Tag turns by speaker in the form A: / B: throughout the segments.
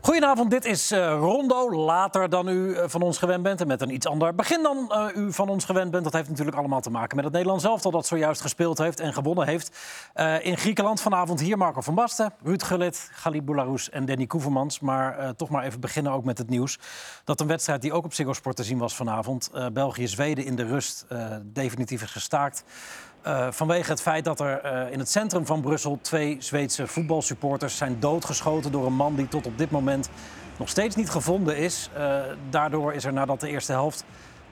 A: Goedenavond, dit is eh, Rondo. Later dan u eh, van ons gewend bent en met een iets ander begin dan eh, u van ons gewend bent. Dat heeft natuurlijk allemaal te maken met het Nederlands elftal dat zojuist gespeeld heeft en gewonnen heeft. Eh, in Griekenland vanavond hier Marco van Basten, Ruud Gullit, Galib Boularus en Danny Koevermans. Maar eh, toch maar even beginnen ook met het nieuws. Dat een wedstrijd die ook op Ziggo Sport te zien was vanavond. eh, België-Zweden in de rust eh, definitief is gestaakt. Eh, vanwege het feit dat er eh, in het centrum van Brussel twee Zweedse voetbalsupporters zijn doodgeschoten door een man die tot op dit moment nog steeds niet gevonden is. Eh, daardoor is er nadat de eerste helft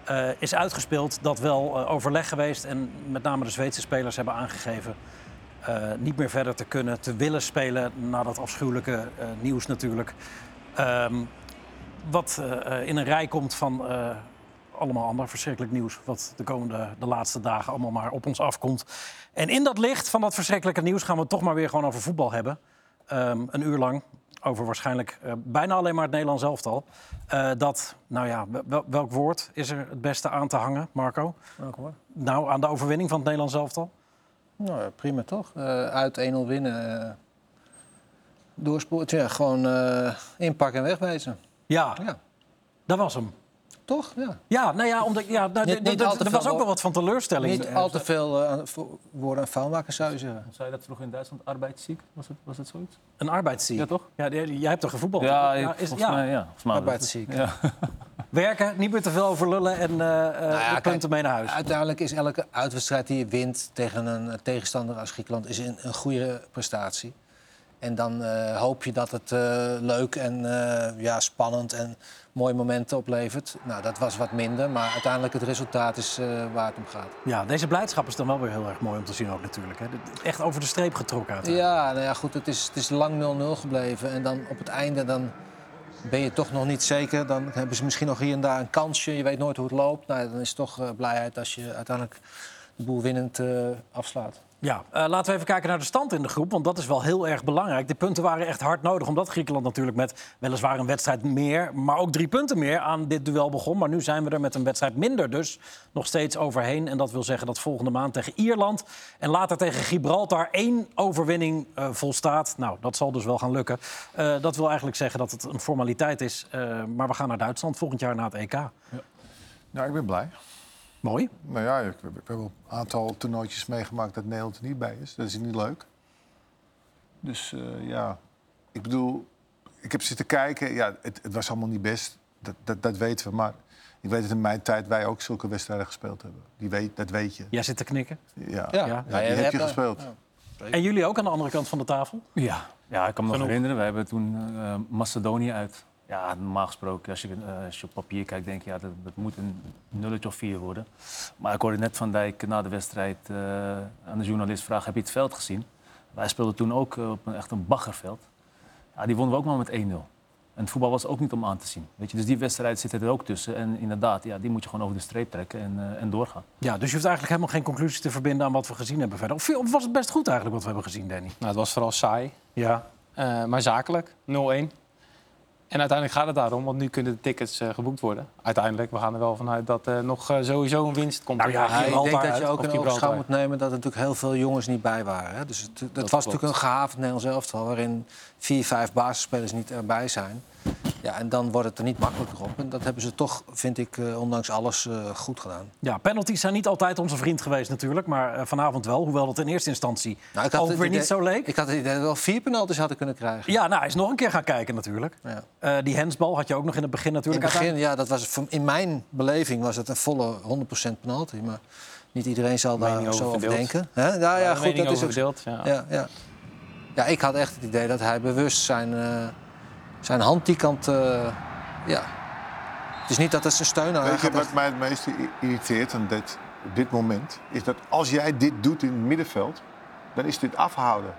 A: eh, is uitgespeeld, dat wel eh, overleg geweest. En met name de Zweedse spelers hebben aangegeven eh, niet meer verder te kunnen, te willen spelen na dat afschuwelijke eh, nieuws natuurlijk. Ehm, wat eh, eh, in een rij komt van eh, allemaal ander verschrikkelijk nieuws. Wat de komende de laatste dagen allemaal maar op ons afkomt. En in dat licht van dat verschrikkelijke nieuws gaan we het toch maar weer gewoon over voetbal hebben. Ehm, een uur lang. Over waarschijnlijk eh, bijna alleen maar het Nederlands elftal. Eh, dat, nou ja, wel- welk woord is er het beste aan te hangen, Marco?
B: Welk hoor?
A: Nou, aan de overwinning van het Nederlands elftal?
B: Nou, ja, prima toch? Eh, uit 1-0 winnen. eh doorspoort. Ja, gewoon eh inpakken en wegwijzen.
A: Ja,
B: Ja,
A: dat was hem.
B: toch? Ja.
A: Ja, nou ja, omdat, ja nou,
B: Niet-
A: d-
B: niet
A: d-
B: al
A: d-
B: te
A: er was
B: veel
A: ook wel wat van teleurstelling.
B: Niet al te veel eh, aan- vo- woorden aan vuil maken, zou je zeggen.
C: Zij dat vroeg in Duitsland, arbeidsziek, was het, was het zoiets?
A: Een arbeidsziek.
C: Ja, toch?
A: Ja, die- jij hebt toch gevoetbald?
C: Ja,
A: Nou,
C: ik,
A: is-
C: volgens mij, ja. Volgens mij
B: Arbeidsziek.
C: Ja.
A: Werken, niet meer te veel over lullen en eh eh,
B: Nou
A: de
B: ja, kijk, eh,
A: punten mee naar huis.
B: Uiteindelijk is elke uitwedstrijd die je wint tegen een eh, tegenstander als Griekenland is een, een goede prestatie. En dan eh, hoop je dat het eh, leuk en eh, ja, spannend en mooie momenten oplevert. Nou, dat was wat minder, maar uiteindelijk het resultaat is eh, waar het om gaat.
A: Ja, deze blijdschap is dan wel weer heel erg mooi om te zien ook natuurlijk. Hè. Dit- Echt over de streep getrokken. uit.
B: Ja, nou ja, goed, het is, het is lang 0-0 gebleven. En dan op het einde dan ben je toch nog niet zeker. Dan hebben ze misschien nog hier en daar een kansje. Je weet nooit hoe het loopt. Nou, dan is het toch eh, blijheid als je uiteindelijk de boel winnend eh, afslaat.
A: Ja, eh, laten we even kijken naar de stand in de groep, want dat is wel heel erg belangrijk. De punten waren echt hard nodig, omdat Griekenland natuurlijk met weliswaar een wedstrijd meer, maar ook drie punten meer aan dit duel begon. Maar nu zijn we er met een wedstrijd minder, dus nog steeds overheen. En dat wil zeggen dat volgende maand tegen Ierland en later tegen Gibraltar één overwinning eh, volstaat. Nou, dat zal dus wel gaan lukken. Eh, dat wil eigenlijk zeggen dat het een formaliteit is, eh, maar we gaan naar Duitsland volgend jaar naar het EK.
D: Ja, ik ben blij.
A: Mooi.
D: Nou ja, ik, we hebben een aantal toernooitjes meegemaakt dat Nederland er niet bij is. Dat is niet leuk. Dus eh, ja, ik bedoel, ik heb zitten kijken. Ja, het, het was allemaal niet best. Dat, dat, dat weten we. Maar ik weet dat in mijn tijd wij ook zulke wedstrijden gespeeld hebben. Die weet, dat weet je.
A: Jij zit te knikken.
D: Ja,
B: Ja,
A: Ja,
D: die heb je gespeeld.
A: En jullie ook aan de andere kant van de tafel?
C: ja. ja, ik kan me nog
A: Genoeg.
C: herinneren, we hebben toen eh, Macedonië uit. Ja, normaal gesproken, als je, eh, als je op papier kijkt, denk je ja, dat, dat moet een nulletje of vier worden. Maar ik hoorde net Van Dijk na de wedstrijd eh, aan de journalist vragen, heb je het veld gezien? Wij speelden toen ook eh, op een, echt een baggerveld. Ja, die wonnen we ook maar met 1-0. En het voetbal was ook niet om aan te zien. Weet je? Dus die wedstrijd zit er ook tussen. En inderdaad, ja, die moet je gewoon over de streep trekken en, eh, en doorgaan.
A: Ja, dus je hoeft eigenlijk helemaal geen conclusies te verbinden aan wat we gezien hebben verder. Of, of was het best goed eigenlijk wat we hebben gezien, Danny?
E: Nou, het was vooral saai,
A: Ja.
E: eh, maar zakelijk. 0-1. En uiteindelijk gaat het daarom, want nu kunnen de tickets eh, geboekt worden. Uiteindelijk, we gaan er wel vanuit dat er nog eh, sowieso een winst komt.
A: Nou ja,
B: Ja, ik
A: Gibraltar
B: denk dat je
A: uit,
B: ook
E: of
B: in
E: Gibraltar.
B: oogschouw moet nemen dat er natuurlijk heel veel jongens niet bij waren. Hè? Dus het, dat was
E: klopt.
B: natuurlijk een gehavend Nederlands elftal... waarin vier, vijf basisspelers niet erbij zijn. Ja, en dan wordt het er niet makkelijker op. En dat hebben ze toch, vind ik, eh, ondanks alles eh, goed gedaan.
A: Ja, penalties zijn niet altijd onze vriend geweest natuurlijk, maar eh, vanavond wel. Hoewel dat in eerste instantie
B: Nou, ik
A: ook
B: het
A: weer niet
B: idee-
A: zo leek.
B: Ik had het idee dat we wel vier penalties hadden kunnen krijgen.
A: Ja, nou, hij is nog een keer gaan kijken natuurlijk.
B: Ja.
A: Eh, die hensbal had je ook nog in het begin
B: In het
A: natuurlijk.
B: begin, ja, dat was, voor- in mijn beleving was het een volle 100% penalty. Maar niet iedereen zal
E: Mening
B: daar
E: over
B: zo over
E: verdeeld.
B: denken. Hè? Nou Ja, ja, goed, dat is ook
E: verdeeld. Ja.
B: Ja, ja. ja, ik had echt het idee dat hij bewust zijn, eh, zijn hand die kant... eh, ja. Het is niet dat het zijn steun aan hij
D: Weet je
B: gaat
D: wat
B: echt-
D: mij het meeste i- irriteert aan dit, op dit moment? Is dat als jij dit doet in het middenveld, dan is dit afhouden.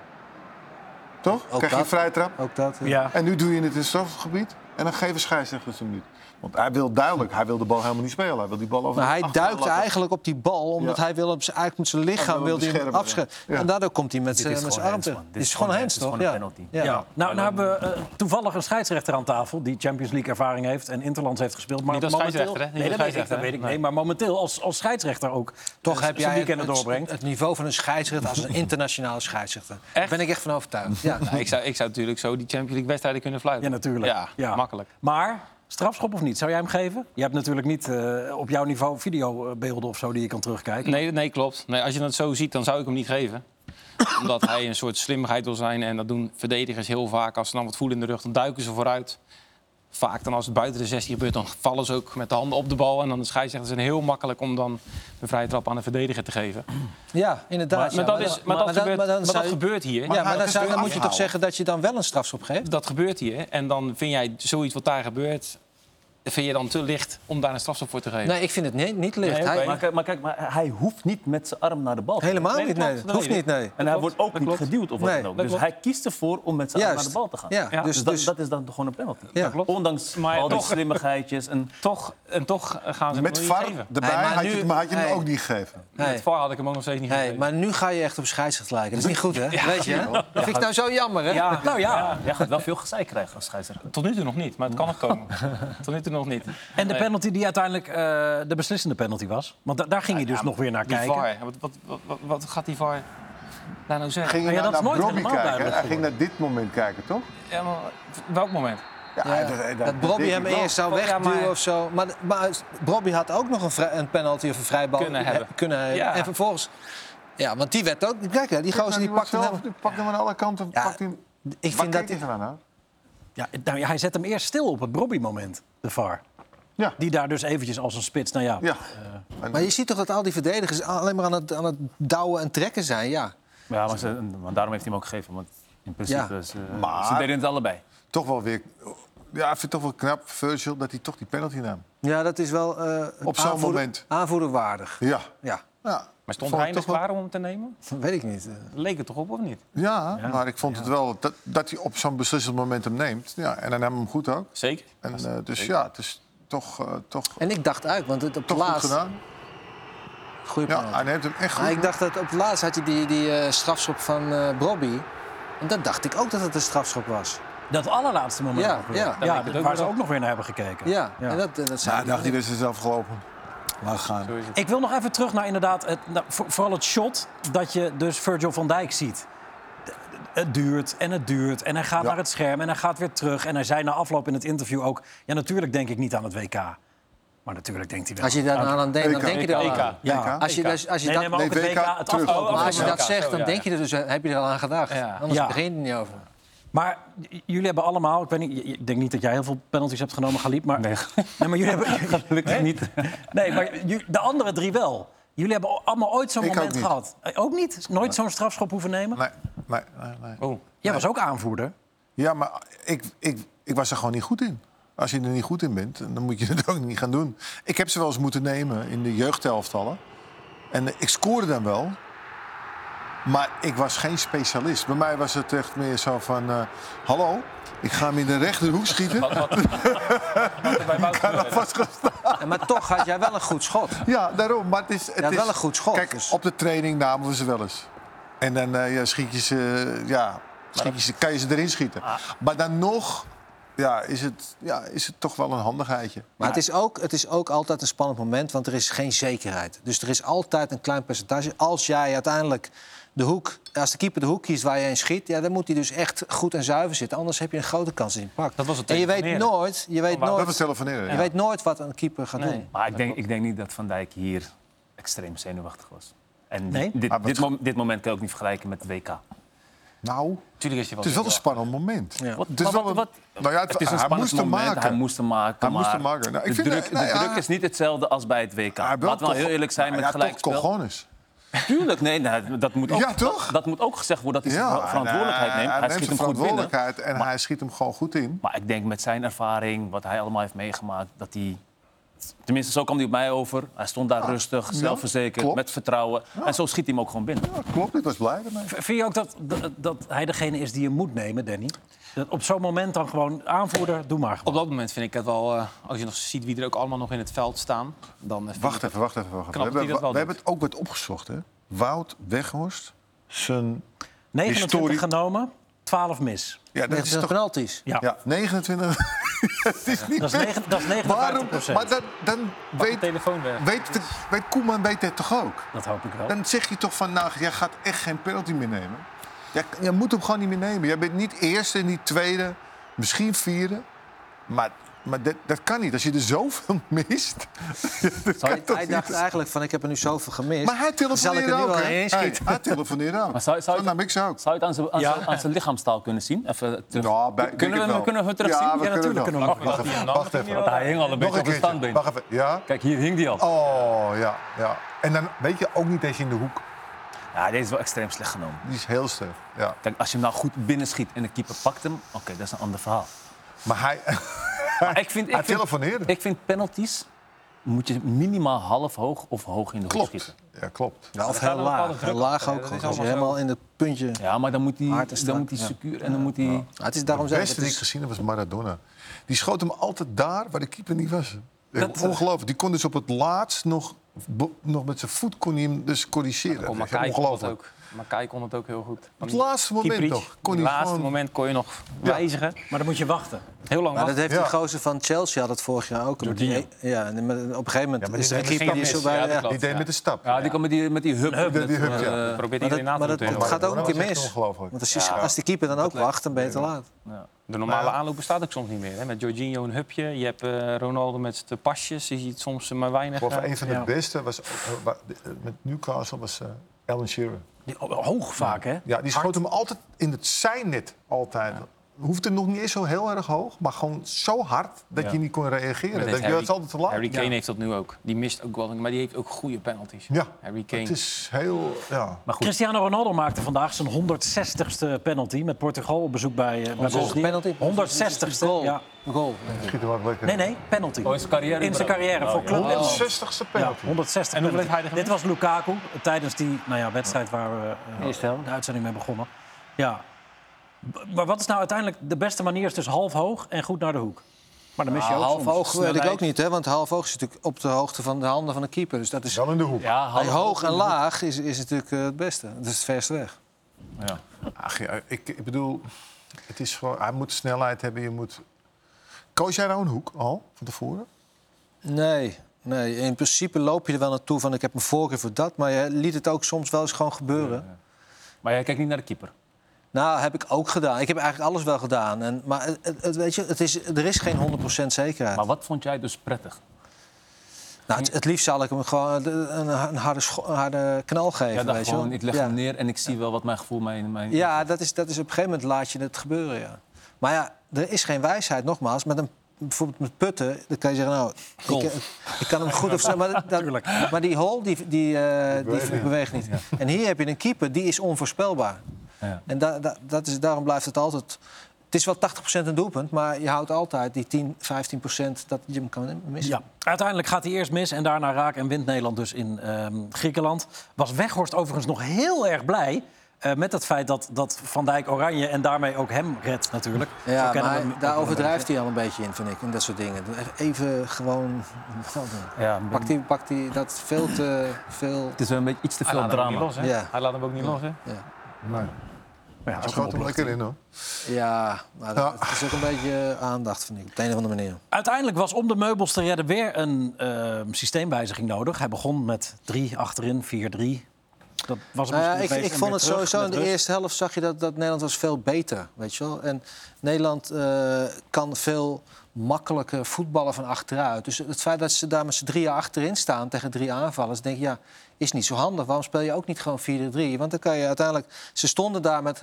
D: Toch?
B: Ook
D: Krijg je
B: dat.
D: vrije trap?
B: Ook dat. eh.
A: Ja.
D: En nu doe je het in het strafgebied.
F: En dan geven scheidsrechters hem niet. Want hij wil duidelijk, hij wil de bal helemaal niet spelen. Hij wil die bal over
B: Maar
F: de
B: hij
F: achterlijn
B: duikt
F: lappen.
B: eigenlijk op die bal, omdat
F: Ja.
B: hij wil hem z- eigenlijk met zijn
F: Hij
B: lichaam
F: wil
B: wil hij
F: hem
B: hem
F: beschermen,
B: afschermen. En daardoor komt hij met
C: Dit
B: zijn
C: is
B: met zijn
C: gewoon
B: arm
C: hands,
B: terug.
C: man. Dit
B: Dit is
C: is
B: gewoon
C: gewoon
B: hands,
C: hands,
B: toch?
C: dit is
B: Ja.
C: gewoon een penalty.
B: Ja.
A: Ja, nou, nou hebben we eh, toevallig een scheidsrechter aan tafel die Champions League ervaring heeft en Interlands heeft gespeeld. Maar
E: Niet als
A: momenteel-
E: scheidsrechter, hè? Niet
A: Nee,
E: als
A: dat weet ik, dat weet
E: scheidsrechter,
A: ik.
E: hè?
A: Nee, maar momenteel als, als scheidsrechter ook
B: Toch
A: eh,
B: heb
A: zijn
B: jij het,
A: weekenden doorbrengt.
B: het, het niveau van een scheidsrechter als een internationale scheidsrechter. Daar ben ik echt van overtuigd. Ja.
E: Nou, ik, zou, ik zou natuurlijk zo die Champions League wedstrijden kunnen fluiten.
A: Ja, natuurlijk.
E: Ja, makkelijk.
A: Maar strafschop of niet? Zou jij hem geven? Je hebt natuurlijk niet eh, op jouw niveau videobeelden of zo die je kan terugkijken.
E: Nee, nee klopt. Nee, als je dat zo ziet, dan zou ik hem niet geven. Omdat hij een soort slimmigheid wil zijn. En dat doen verdedigers heel vaak. Als ze dan wat voelen in de rug, dan duiken ze vooruit. Vaak dan als het buiten de 16 gebeurt, dan vallen ze ook met de handen op de bal. En dan de scheidsrechters zijn heel makkelijk om dan een vrije trap aan de verdediger te geven.
B: ja, inderdaad.
E: Maar,
B: ja.
E: maar dat, is, maar dat,
B: dan-
E: gebeurt,
B: maar dan
E: maar dat
B: zou je-
E: gebeurt hier.
B: Ja, maar
F: hij
B: dan, zou, dan
F: gebeurt-
B: moet je toch zeggen dat je dan wel een strafschop geeft?
E: Dat gebeurt hier. En dan vind jij zoiets wat daar gebeurt, vind je dan te licht om daar een strafstop voor te geven.
B: Nee, ik vind het niet, niet licht.
E: Nee, oké.
B: Hij-
E: Maar
C: Maar, kijk- maar kijk, maar hij hoeft niet met zijn arm naar de bal te
B: Helemaal
C: gaan.
B: niet,
C: dat
B: nee.
C: klopt.
B: Dat hoeft niet, nee.
C: En hij wordt ook niet geduwd of wat
B: Nee,
C: dan ook.
E: dat
C: Dus
E: klopt.
C: hij kiest ervoor om met zijn arm naar de
B: Juist.
C: bal te gaan.
B: Ja,
E: Ja,
B: dus,
C: Dus,
B: dus-
C: dat, dat is dan gewoon een penalty.
B: Ja.
C: Ondanks
E: Maar
C: al die
E: toch-
C: slimmigheidjes. En,
E: Toch, en toch gaan ze
F: Met
E: hem
F: VAR
E: niet geven.
F: erbij
B: Hey, maar
F: had, je,
B: nu-
F: het- maar had je hem
B: hey.
F: ook niet gegeven.
E: Met
B: Hey,
E: VAR had ik hem ook nog steeds niet
B: hey,
E: gegeven.
B: maar nu ga je echt op scheidsrechter lijken. Dat is niet goed, hè? Weet je, hè? Dat vind ik nou zo jammer, hè?
C: ja,
A: Nou ja.
C: jij gaat wel veel gezeik krijgen als scheidsrechter.
E: Tot nu toe nog niet, maar het kan nog komen. Tot nu toe nog niet.
A: En de
E: Nee.
A: penalty die uiteindelijk eh, de beslissende penalty was. Want da- daar ging je dus nog weer naar
E: Die
A: kijken.
E: VAR, wat, wat, wat, wat, wat gaat die VAR daar nou zeggen?
F: Ging je
A: ja,
F: nou
A: dat is
F: naar
A: nooit
F: Robbie
A: helemaal
F: kijken?
A: duidelijk
F: Hij ging naar dit moment kijken, toch?
E: Ja, maar welk moment?
B: Ja,
F: dat-
B: dat Bobby
F: denk
B: hem
F: ik wel.
B: eerst zou
E: Oh, ja,
B: wegduwen
E: maar-
B: of zo. Maar, maar Bobby had ook nog een, vrij- een penalty of een vrijbal
E: Kunnen
B: he-
E: hebben.
B: kunnen hebben.
E: Ja.
B: En vervolgens... Ja, want die werd ook... Kijk, hè, die
F: Kijk
B: gozer die
F: nou,
B: pakt hem...
F: zelf- die pakt hem aan alle kanten.
B: Ja,
F: pakt hem,
B: Ik
F: Waar
B: vind dat...
F: keek je van aan?
A: Ja, nou, ja, hij zet hem eerst stil op het Brobby-moment, de VAR.
F: Ja.
A: Die daar dus eventjes als een spits, nou ja.
F: Ja.
B: Maar je ziet toch dat al die verdedigers alleen maar aan het, aan het douwen en trekken zijn, ja.
C: Ja, maar, ze- maar daarom heeft hij hem ook gegeven. Want in principe,
B: Ja.
C: ze,
F: Maar-
C: ze deden het allebei.
F: Toch wel weer... Ja, ik vind het toch wel knap, Virgil, dat hij toch die penalty nam.
B: Ja, dat is wel eh,
F: Op zo'n
B: aanvoerder-
F: moment.
B: aanvoerderwaardig.
F: Ja.
B: Ja,
F: ja. Vond
E: Maar stond
F: ik toch
E: Reinders
F: wel-
E: klaar om hem te nemen?
B: dat weet ik niet.
E: Leek het toch op, of niet?
F: Ja, maar ik vond het wel dat, dat hij op zo'n beslissend moment hem neemt. Ja, en dan nam hem goed ook.
E: Zeker.
F: En, eh, dus ja, het is toch, eh, toch,
B: En ik dacht uit, want het op het
F: toch goed
B: laatst...
F: gedaan.
B: Goeie
F: Ja,
B: penalty.
F: hij neemt hem echt goed.
B: Maar ik dacht dat op het laatst had je die, die eh, strafschop van eh Bobby. En dat dacht ik ook dat het een strafschop was.
A: Dat allerlaatste moment.
B: Ja,
A: ook weer.
B: ja. Dan
A: ja
E: denk ik het ook
A: waar
E: weer
A: ze
E: op.
A: ook nog weer naar hebben gekeken.
B: Ja, en dat, eh, dat zei
F: Nou,
B: ik
F: dacht
B: niet.
F: hij dus is afgelopen. Laat gaan.
A: Ik wil nog even terug naar inderdaad, het, nou, voor- vooral het shot dat je dus Virgil van Dijk ziet. D- d- Het duurt en het duurt en hij gaat
F: Ja.
A: naar het scherm en hij gaat weer terug. En hij zei na afloop in het interview ook, ja natuurlijk denk ik niet aan het WK. Maar natuurlijk denkt hij wel.
B: Als je daar aan denkt, dan
F: EK.
B: denk je er al
E: EK.
B: aan.
A: ja.
F: EK?
B: Als je,
E: EK.
B: dus, als je
A: nee,
B: dat,
A: nee, maar ook
F: Nee,
A: het
F: WK
A: WK, het
F: terug.
A: afgelopen
E: Oh,
B: maar
E: oh,
B: als je
E: WK,
B: dat zegt,
E: zo,
B: dan
E: ja,
B: denk je er dus heb je er al aan gedacht.
E: Ja.
B: Anders
A: Ja.
B: begin je er niet over.
A: Maar j- jullie hebben allemaal, ik, weet niet, j- ik denk niet dat jij heel veel penalties hebt genomen, Galip. Maar, nee. maar jullie hebben.
C: Gelukkig niet.
A: Nee, maar ju- de andere drie wel. Jullie hebben allemaal ooit zo'n
F: Ik ook
A: moment
F: niet.
A: gehad. Eh, Ook niet? Nooit zo'n strafschop hoeven nemen?
F: Nee, nee, nee, nee.
E: Oh,
A: Jij was ook aanvoerder.
F: Ja, maar ik, ik, ik was er gewoon niet goed in. Als je er niet goed in bent, dan moet je het ook niet gaan doen. Ik heb ze wel eens moeten nemen in de jeugdhelftallen. En eh, ik scoorde dan wel. Maar ik was geen specialist. Bij mij was het echt meer zo van... eh, Hallo, ik ga hem in de rechterhoek schieten.
E: wat, wat, wat er bij Wout gebeurde.
B: En Maar toch had jij wel een goed schot.
F: Ja, daarom. Maar het is, het
B: Ja,
F: is
B: wel een goed schot,
F: Kijk,
B: dus.
F: op de training namen we ze wel eens. En dan eh, ja, schiet je ze, eh, ja, schiet je ze, kan je ze erin schieten.
C: Ah.
F: Maar dan nog ja, is, het, ja, is het toch wel een handigheidje.
B: Maar het is, ook, het is ook altijd een spannend moment, want er is geen zekerheid. Dus er is altijd een klein percentage. Als jij uiteindelijk de hoek, als de keeper de hoek kiest waar je in schiet, ja, dan moet hij dus echt goed en zuiver zitten. Anders heb je een grote kans in je pak.
E: Dat was het
B: en je weet
E: telefoneren.
B: nooit, je weet
F: Dat was
B: nooit,
F: telefoneren.
B: je
F: eh, Ja.
B: weet nooit wat een keeper gaat doen.
C: Maar ik denk, ik denk niet dat Van Dijk hier extreem zenuwachtig was. En
A: Nee?
C: dit,
F: Maar
C: dit,
F: wat-
C: dit, mom- dit moment kan je ook niet vergelijken met het WK.
F: Nou,
E: Tuurlijk is je wel.
F: het is wel een spannend moment.
C: Wat-
F: Het is
C: maar
F: wel
C: wat-
F: een-
C: wat-
F: nou ja, het-
C: het is een
F: hij
C: spannend
F: moest hem
C: moment,
F: maken.
C: Hij moest hem maken.
F: Hij
C: maar
F: moest hem maken. Nou, ik
C: de
F: vind-
C: druk,
F: nou
C: de
F: ja.
C: druk is niet hetzelfde als bij het WK.
F: Hij
C: Laten
F: wil
C: we wel
F: toch-
C: heel eerlijk zijn
F: nou
C: met
F: ja, toch
C: gelijkspel.
F: cojones.
C: Tuurlijk, nee, nee, dat moet ook,
F: Ja, toch?
C: Dat, dat moet ook gezegd worden dat hij
F: Ja,
C: zijn verantwoordelijkheid
F: en, eh,
C: neemt. Hij, schiet
F: zijn
C: hem goed binnen.
F: verantwoordelijkheid en hij schiet hem gewoon goed in.
C: Maar ik denk met zijn ervaring, wat hij allemaal heeft meegemaakt, dat hij Tenminste, zo kwam hij op mij over. Hij stond daar rustig, zelfverzekerd,
F: Ah, klopt.
C: met vertrouwen. En zo schiet hij hem ook gewoon binnen.
F: Ja, klopt, ik was blij ermee.
A: V- Vind je ook dat, dat, dat hij degene is die je moet nemen, Danny? Dat op zo'n moment dan gewoon aanvoerder, doe maar
E: Op
A: gewoon.
E: dat moment vind ik het wel, eh, als je nog ziet wie er ook allemaal nog in het veld staan, dan eh, vind ik-
F: Wacht even, wacht even. Wacht even.
E: Knap
F: We,
E: dat hij
F: hebben,
E: dat wel
F: we hebben het ook wat opgezocht, hè? Wout Weghorst, zijn...
A: 29
F: historie-
A: genomen, 12 mis.
F: Ja, dat is toch...
B: penalties.
A: Ja,
F: Ja, 29... Het is niet
A: Dat is
F: best.
A: negen- dat is 59%.
F: Waarom? Maar dan, dan
E: de
F: weet,
E: telefoon weg.
F: weet, de- weet Koeman weet het toch ook?
A: dat hoop ik wel.
F: Dan zeg je toch van, nou, jij gaat echt geen penalty meer nemen. Jij, jij moet hem gewoon niet meer nemen. Jij bent niet eerste, niet tweede, misschien vierde. Maar, maar dat, dat kan niet. Als je er zoveel mist... dat kan toch
B: Hij
F: niet?
B: dacht eigenlijk van, ik heb er nu zoveel gemist.
F: Maar hij
B: Zal ik
F: telefoneerde
B: er nu
F: ook,
B: wel
F: hè?
B: in
F: Hey,
B: schieten?
F: Hij telefoneerde ook.
C: Maar zou- zou je-
F: Zo nam ik ze ook.
C: Zou je het aan zijn, aan zijn- aan zijn lichaamstaal kunnen zien? Even terug.
F: Nou, bij- denk
C: kunnen,
F: ik
C: we,
F: wel.
C: kunnen we hem terugzien?
F: Ja, we
A: Ja, natuurlijk
F: kunnen
A: kunnen
F: wel.
A: we hem
F: Wacht even, wacht even.
C: Want hij hing al een
F: Nog
C: beetje
F: een
C: op het
F: keertje.
C: standbeen.
F: Wacht even, ja?
C: Kijk, hier hing hij al.
F: Oh, ja, ja.
G: En dan weet je ook niet dat je in de hoek...
C: Ja, deze is wel extreem slecht genomen.
F: Die is heel sterk. Ja.
C: Kijk, als je hem nou goed binnenschiet en de keeper pakt hem... Oké, dat is een ander verhaal.
G: Maar hij,
C: Maar ik vind,
F: Hij
C: ik vind,
F: telefoneerde.
C: ik vind penalties... moet je minimaal half hoog of hoog in de hoek schieten.
F: Klopt. Ja, klopt.
B: Ja, of heel
E: gaat een bepaalde
B: laag.
E: druk
B: Heel laag
E: op.
B: ook
E: Ja, dat
B: gewoon.
E: is
B: Als je
E: allemaal
B: helemaal in het puntje...
C: Ja, maar dan moet hij,
B: Hard en strak,
C: dan moet hij
B: ja.
C: secuur en dan moet hij...
B: Ja, het is daarom
F: Het
B: zeg ik,
F: beste
B: het
F: die ik
B: is-
F: gezien heb was Maradona. Die schoot hem altijd daar waar de keeper niet was.
A: Dat-
F: Ongelooflijk. Die kon dus op het laatst nog, bo- nog met zijn voet kon hij hem dus corrigeren.
E: Oh,
F: Dat is
E: Makai kon het
F: Ongelooflijk.
E: ook. Makai kon het ook heel goed.
F: Op het laatste moment
E: Kieprits,
F: nog. Kon
E: Mm. op het
F: hij
E: laatste
F: gewoon-
E: moment kon je nog wijzigen.
A: Maar dan moet je wachten.
E: Heel lang
B: Maar
E: wachten.
B: dat heeft
F: Ja.
B: die gozer van Chelsea had het vorig jaar ook. Met die- ja, en met- op een gegeven moment
G: maar
B: is
G: die
B: er een
G: deed
B: keeper die is zo bij...
E: Ja, dat
B: ja.
E: klopt.
F: Die deed
E: Ja.
F: met de stap.
C: Ja, die kan met die, met die hub.
F: Die- die hub, ja.
C: Eh,
E: Probeert
B: Maar dat,
E: iedereen na
B: maar
E: te
B: dat,
E: doen.
B: dat gaat ook een keer
F: Dat is echt
B: mis.
F: ongelooflijk.
B: Want als, je- als de keeper dan ook wacht, dan ben je te laat.
E: De normale aanlopen staat ook soms niet meer. Hè? Met Jorginho een hupje. Je hebt eh, Ronaldo met de pasjes. Je ziet soms maar weinig.
F: Of
E: eh,
F: een van de beste was eh, wa- eh, met Newcastle was eh Alan Shearer.
A: Die- Hoog vaak, hè?
F: Ja, die schoot hem altijd in het zijnet. Altijd. Hoeft hem nog niet eens zo heel erg hoog, maar gewoon zo hard dat
C: Ja.
F: je niet kon reageren.
E: met
F: Dat je
E: Harry-
F: het altijd te laat.
E: Harry Kane heeft dat nu ook. Die mist ook wel, maar die heeft ook goede penalties.
F: Ja,
E: Harry Kane.
F: het is heel. Ja.
A: Cristiano Ronaldo maakte vandaag zijn 160ste penalty met Portugal op bezoek bij, eh bij Bosnië.
B: Penalty?
A: 160ste.
B: Goal.
A: Ja.
B: Goal.
F: Schiet hem ook lekker.
A: Nee, nee, penalty.
C: Oh, in zijn carrière Oh,
A: In zijn carrière voor Club Oh. Nederland.
F: 60ste
A: Ja,
F: penalty.
A: 160
E: En hoeveel
A: punten.
E: heeft hij er
A: Dit was Lukaku tijdens die nou ja, wedstrijd waar we eh,
B: Eerste helft.
A: de uitzending mee begonnen. Ja. B- Maar wat is nou uiteindelijk de beste manier? Is dus half hoog en goed naar de hoek. Maar dan mis
E: Ah,
A: je ook
B: half
A: soms.
B: oog
E: eh,
B: weet ik
C: Snelheid.
B: ook niet, hè? want half oog is natuurlijk op de hoogte van de handen van de keeper. Dus dat is
F: Wel in de hoek.
C: Ja,
B: bij
C: half
B: hoog en laag is, is natuurlijk eh, het beste. Dat is het verste weg.
C: Ja.
F: Ach, ja, ik, ik bedoel, het is gewoon, hij moet snelheid hebben. Je moet... Koos jij nou een hoek al van tevoren?
B: Nee, nee, in principe loop je er wel naartoe van ik heb mijn voorkeur voor dat. Maar je liet het ook soms wel eens gewoon gebeuren.
C: Maar jij kijkt niet naar de keeper.
B: Nou, heb ik ook gedaan. Ik heb eigenlijk alles wel gedaan. En, maar het, het- het- weet je, het is, er is geen 100% zekerheid.
C: Maar wat vond jij dus prettig?
B: nou, het, het liefst zal ik hem gewoon een, een een harde, scho- een harde knal geven.
C: Jij dacht
B: weet je wel.
C: gewoon, ik leg
B: ja.
C: hem neer en ik zie wel wat mijn gevoel mijn... mijn...
B: Ja, dat is, dat is op een gegeven moment laat je het gebeuren, ja. Maar ja, er is geen wijsheid, nogmaals. Met een, bijvoorbeeld met putten, dan kan je zeggen, nou, ik, ik kan hem goed of zo. Maar, dat- maar die hol, die, die, eh, die beweegt niet. En hier heb je een keeper, die is onvoorspelbaar.
C: Ja.
B: En da, da- dat is, daarom blijft het altijd... Het is wel 80% een doelpunt, maar je houdt altijd die 10, 15% dat je hem kan missen.
A: Ja. Uiteindelijk gaat hij eerst mis en daarna raak en wint Nederland dus in ehm, Griekenland. Was Weghorst overigens nog heel erg blij eh, met het feit dat, dat Van Dijk Oranje en daarmee ook hem redt natuurlijk. Zo
B: Ja,
A: kennen
B: maar
A: we hem ook
B: daar
A: wel een
B: overdrijft hij al een beetje in, vind ik. En dat soort dingen. Even gewoon...
C: Ja,
B: Pakt hij, pakt hij dat veel te veel.
C: Het is wel een beetje iets te
E: Hij
C: veel
E: laat hem ook niet
C: drama.
E: los, hè?
B: Ja.
E: Hij laat hem ook niet los, hè?
F: Nee.
A: beetje. Ja,
F: Hij
A: dat is
F: schoot
A: ook een
F: hem lekker in hoor.
B: Ja, maar dat- het is ook een beetje eh, aandacht, vind ik. Op de een of andere manier.
A: Uiteindelijk was om de meubels te redden weer een ehm, systeemwijziging nodig. Hij begon met drie achterin, 4-3. Dat was
B: Nou ja,
A: misschien
B: ik,
A: geweest
B: ik
A: en
B: vond
A: weer
B: het
A: terug
B: sowieso
A: met
B: in de
A: rust.
B: eerste helft zag je dat, dat Nederland was veel beter, weet je wel. En Nederland eh, kan veel makkelijker voetballen van achteruit. Dus het feit dat ze daar met z'n drieën achterin staan tegen drie aanvallers, denk je, ja, is niet zo handig. Waarom speel je ook niet gewoon 4-3? Want dan kan je uiteindelijk. Ze stonden daar met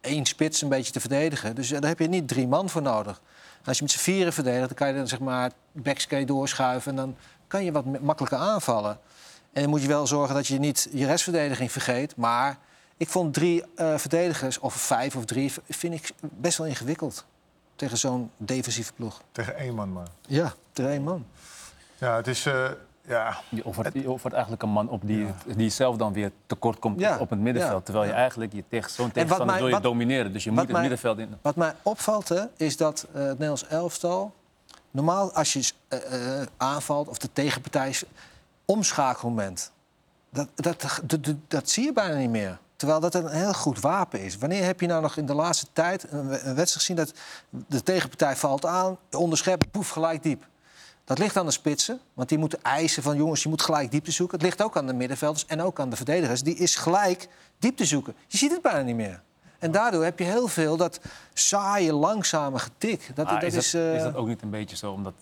B: één spits een beetje te verdedigen. Dus eh, daar heb je niet drie man voor nodig. En als je met z'n vieren verdedigt, dan kan je dan zeg maar backskate doorschuiven en dan kan je wat ma- makkelijker aanvallen. En dan moet je wel zorgen dat je niet je restverdediging vergeet. Maar ik vond drie eh, verdedigers, of vijf of drie, v- vind ik best wel ingewikkeld. Tegen zo'n defensieve ploeg.
F: Tegen één man maar.
B: Ja, tegen één man.
F: Ja, het is... eh, ja,
C: Je offert, je offert eigenlijk een man op die, die zelf dan weer tekort komt
B: Ja,
C: op het middenveld.
B: ja,
C: terwijl je eigenlijk je tegen, zo'n tegenstander
B: mij-
C: wil je
B: wat-
C: domineren. Dus je moet
B: wat
C: het
B: mij-
C: middenveld in.
B: Wat mij opvalt hè, is dat eh, het Nederlands elftal... Normaal als je eh, eh, aanvalt of de tegenpartij... is- omschakelmoment. Dat, dat, dat, dat- dat zie je bijna niet meer. Terwijl dat een heel goed wapen is. Wanneer heb je nou nog in de laatste tijd een, we- een wedstrijd gezien... dat de tegenpartij valt aan, onderschept, poef, gelijk diep. Dat ligt aan de spitsen, want die moeten eisen van jongens, je moet gelijk diepte zoeken. Het ligt ook aan de middenvelders en ook aan de verdedigers. Die is gelijk diepte zoeken. Je ziet het bijna niet meer. En daardoor heb je heel veel dat saaie, langzame getik. Dat,
C: Maar
B: dat is,
C: Ah, is, dat,
B: eh,
C: is dat ook niet een beetje zo? Omdat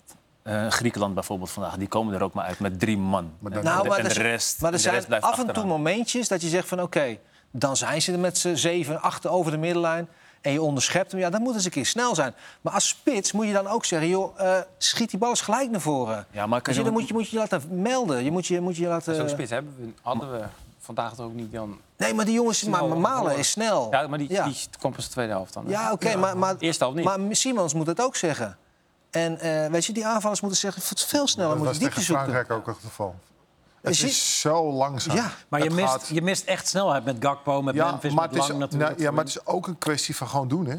C: eh, Griekenland bijvoorbeeld vandaag, die komen er ook maar uit met drie man. en,
B: Nou,
C: de-
B: maar er
C: en de
B: zijn-
C: rest,
B: Maar er
C: en de
B: zijn
C: rest blijft
B: af en toe
C: achteraan.
B: momentjes dat je zegt van... oké, dan zijn ze er met z'n zeven, acht over de middenlijn... en je onderschept hem. Ja, dan moet eens een keer snel zijn. Maar als spits moet je dan ook zeggen... joh, eh, schiet die bal eens gelijk naar voren.
C: Ja, maar
B: Dus
C: kan
B: je,
C: je
B: dan
C: ook-
B: moet je, moet je laten melden. Je moet je, moet je laten...
E: Zo'n spits hebben we, hadden we vandaag toch ook niet dan.
B: Nee, maar die jongens... Maar, maar Malen is snel.
E: Ja, maar die,
B: Oh. Ja,
E: die kwam pas de tweede helft dan. hè?
B: Ja, oké, maar... maar
E: Eerste helft niet.
B: Maar Simons moet dat ook zeggen. En eh, weet je, die aanvallers moeten zeggen... veel sneller
F: dat
B: moet
F: was
B: je diepte
F: tegen
B: zoeken.
F: Frankrijk ook het geval. Het
B: Zie-
F: is zo langzaam.
B: Ja,
A: Maar je
F: Het
A: mist,
F: gaat-
A: je mist echt snelheid met Gakpo, met
F: ja,
A: Memphis,
F: maar
A: met
F: het is,
A: Lang natuurlijk.
F: nou, ja, maar het is ook een kwestie van gewoon doen, hè?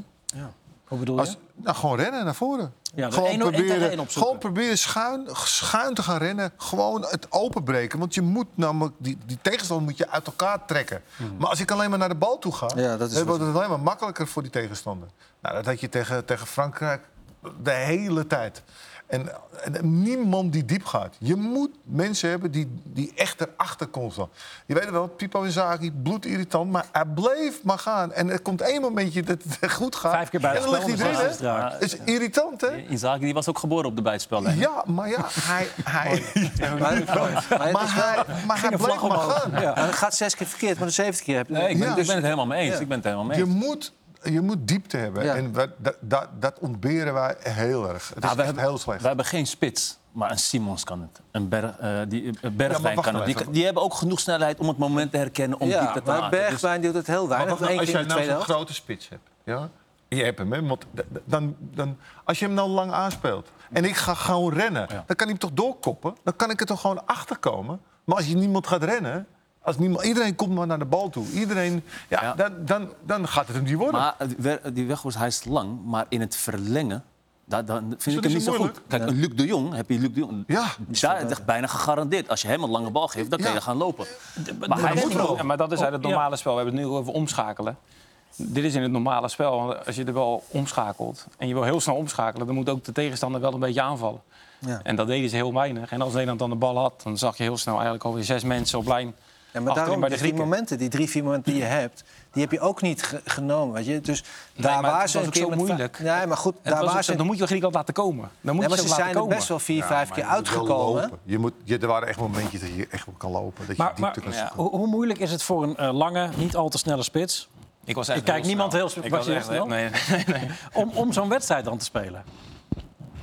A: Hoe bedoel je?
F: Als, nou, gewoon rennen naar voren.
A: Ja, de
F: gewoon,
A: één- één tegen één
F: proberen,
A: opzoeken.
F: gewoon proberen schuin, schuin te gaan rennen. Gewoon het openbreken. Want je moet namelijk die, die tegenstander moet je uit elkaar trekken.
A: Hmm.
F: Maar als ik alleen maar naar de bal toe ga,
B: Ja, dat is
F: dan
B: wat-
F: wordt het alleen maar makkelijker voor die tegenstander. Nou, dat had je tegen, tegen Frankrijk de hele tijd. En, en niemand die diep gaat. Je moet mensen hebben die, die echt erachter constant. Je weet het wel, Pipo Inzaghi, bloedirritant, maar hij bleef maar gaan. En er komt één momentje dat het goed gaat.
A: Vijf keer bij
F: en
A: het
F: dan
A: spel,
F: ligt hij
A: dan
F: erin,
A: is
F: hè?
A: het
F: Het is irritant, hè?
C: Inzaghi die was ook geboren op de buitenspellijn.
F: Ja, maar ja, hij... hij
B: Maar, maar,
F: maar hij, maar
A: vlag
F: hij bleef maar
A: omhoog.
F: gaan.
B: Ja, het gaat zes keer verkeerd, maar de zevende keer heb je...
C: Nee, ik ben,
F: Ja.
C: ik ben het helemaal mee eens. Ik ben het helemaal mee
F: Je
C: eens.
F: moet, je moet diepte hebben.
B: Ja.
F: En dat, dat- dat, dat ontberen wij heel erg. Het is
C: Nou, we
F: echt
C: hebben,
F: heel slecht.
C: We hebben geen spits, maar een Simons kan het. Een, berg, eh, die, een Bergwijn
F: wacht
C: kan het. Die,
F: even.
C: die hebben ook genoeg snelheid om het moment te herkennen om
B: ja,
C: diepte te
B: maar
C: maken. Dus-
B: Bergwijn doet het heel weinig.
F: Maar wacht nou,
B: Eén keer in de tweede helft.
F: grote spits hebt, ja? je hebt hem, hè? Want d- d- dan, dan, als je hem nou lang aanspeelt en ik ga gewoon rennen, dan kan hij hem toch doorkoppen? Dan kan ik er toch gewoon achterkomen? Maar als je niemand gaat rennen, als niemand, iedereen komt maar naar de bal toe. Iedereen, ja,
C: Ja.
F: Dan, dan, dan gaat het hem niet worden.
C: Maar het wer- die weg was hij is lang, maar in het verlengen. da- dan vind ik
F: is
C: hem niet zo
F: moeilijk.
C: goed. Kijk, een Luc de Jong, heb je Luc de Jong.
F: Ja.
C: daar is echt bijna gegarandeerd. Als je hem een lange bal geeft, dan kan
F: Ja.
C: je gaan lopen.
E: Maar, hij is
C: moet
E: niet
C: wel.
E: goed. Ja, maar dat is uit het normale spel. We hebben het nu over omschakelen. Dit is in het normale spel. Want als je de bal omschakelt en je wil heel snel omschakelen, dan moet ook de tegenstander wel een beetje aanvallen.
B: Ja.
E: En dat deden ze heel weinig. En als Nederland dan de bal had, dan zag je heel snel eigenlijk alweer zes mensen op lijn.
B: Ja, maar
E: achterin
B: daarom
E: bij de
B: dus die
E: Grieken.
B: momenten, die drie, vier momenten die je hebt, die heb je ook niet ge- genomen. Weet je? Dus daar
E: maar
B: waren
E: het
B: ze
E: was
B: een
E: ook
B: keer
E: zo
B: met vijf-
E: moeilijk.
B: Nee, maar goed,
E: En het
B: daar
E: was ook
B: waren
E: zo,
B: ze.
E: dan moet je Griekenland laten komen. Dan moet
B: Nee,
E: je
B: maar ze
E: ze laten
B: zijn er
E: komen.
B: best wel vier,
F: Ja,
B: vijf
F: maar
B: keer
F: je moet wel
B: uitgekomen.
F: lopen. Je moet, je, er waren echt momentjes dat je echt wel kan lopen. Dat je
A: Maar, maar
F: diepte kan zoeken.
A: hoe, hoe moeilijk is het voor een eh, lange, niet al te snelle spits...
E: Ik, was echt
A: Ik kijk
E: heel
A: niemand
E: snel.
A: heel sp-
E: Ik
A: was
E: was
A: je
E: echt-
A: heel snel?
E: Nee, nee, nee.
A: om, om zo'n wedstrijd dan te spelen?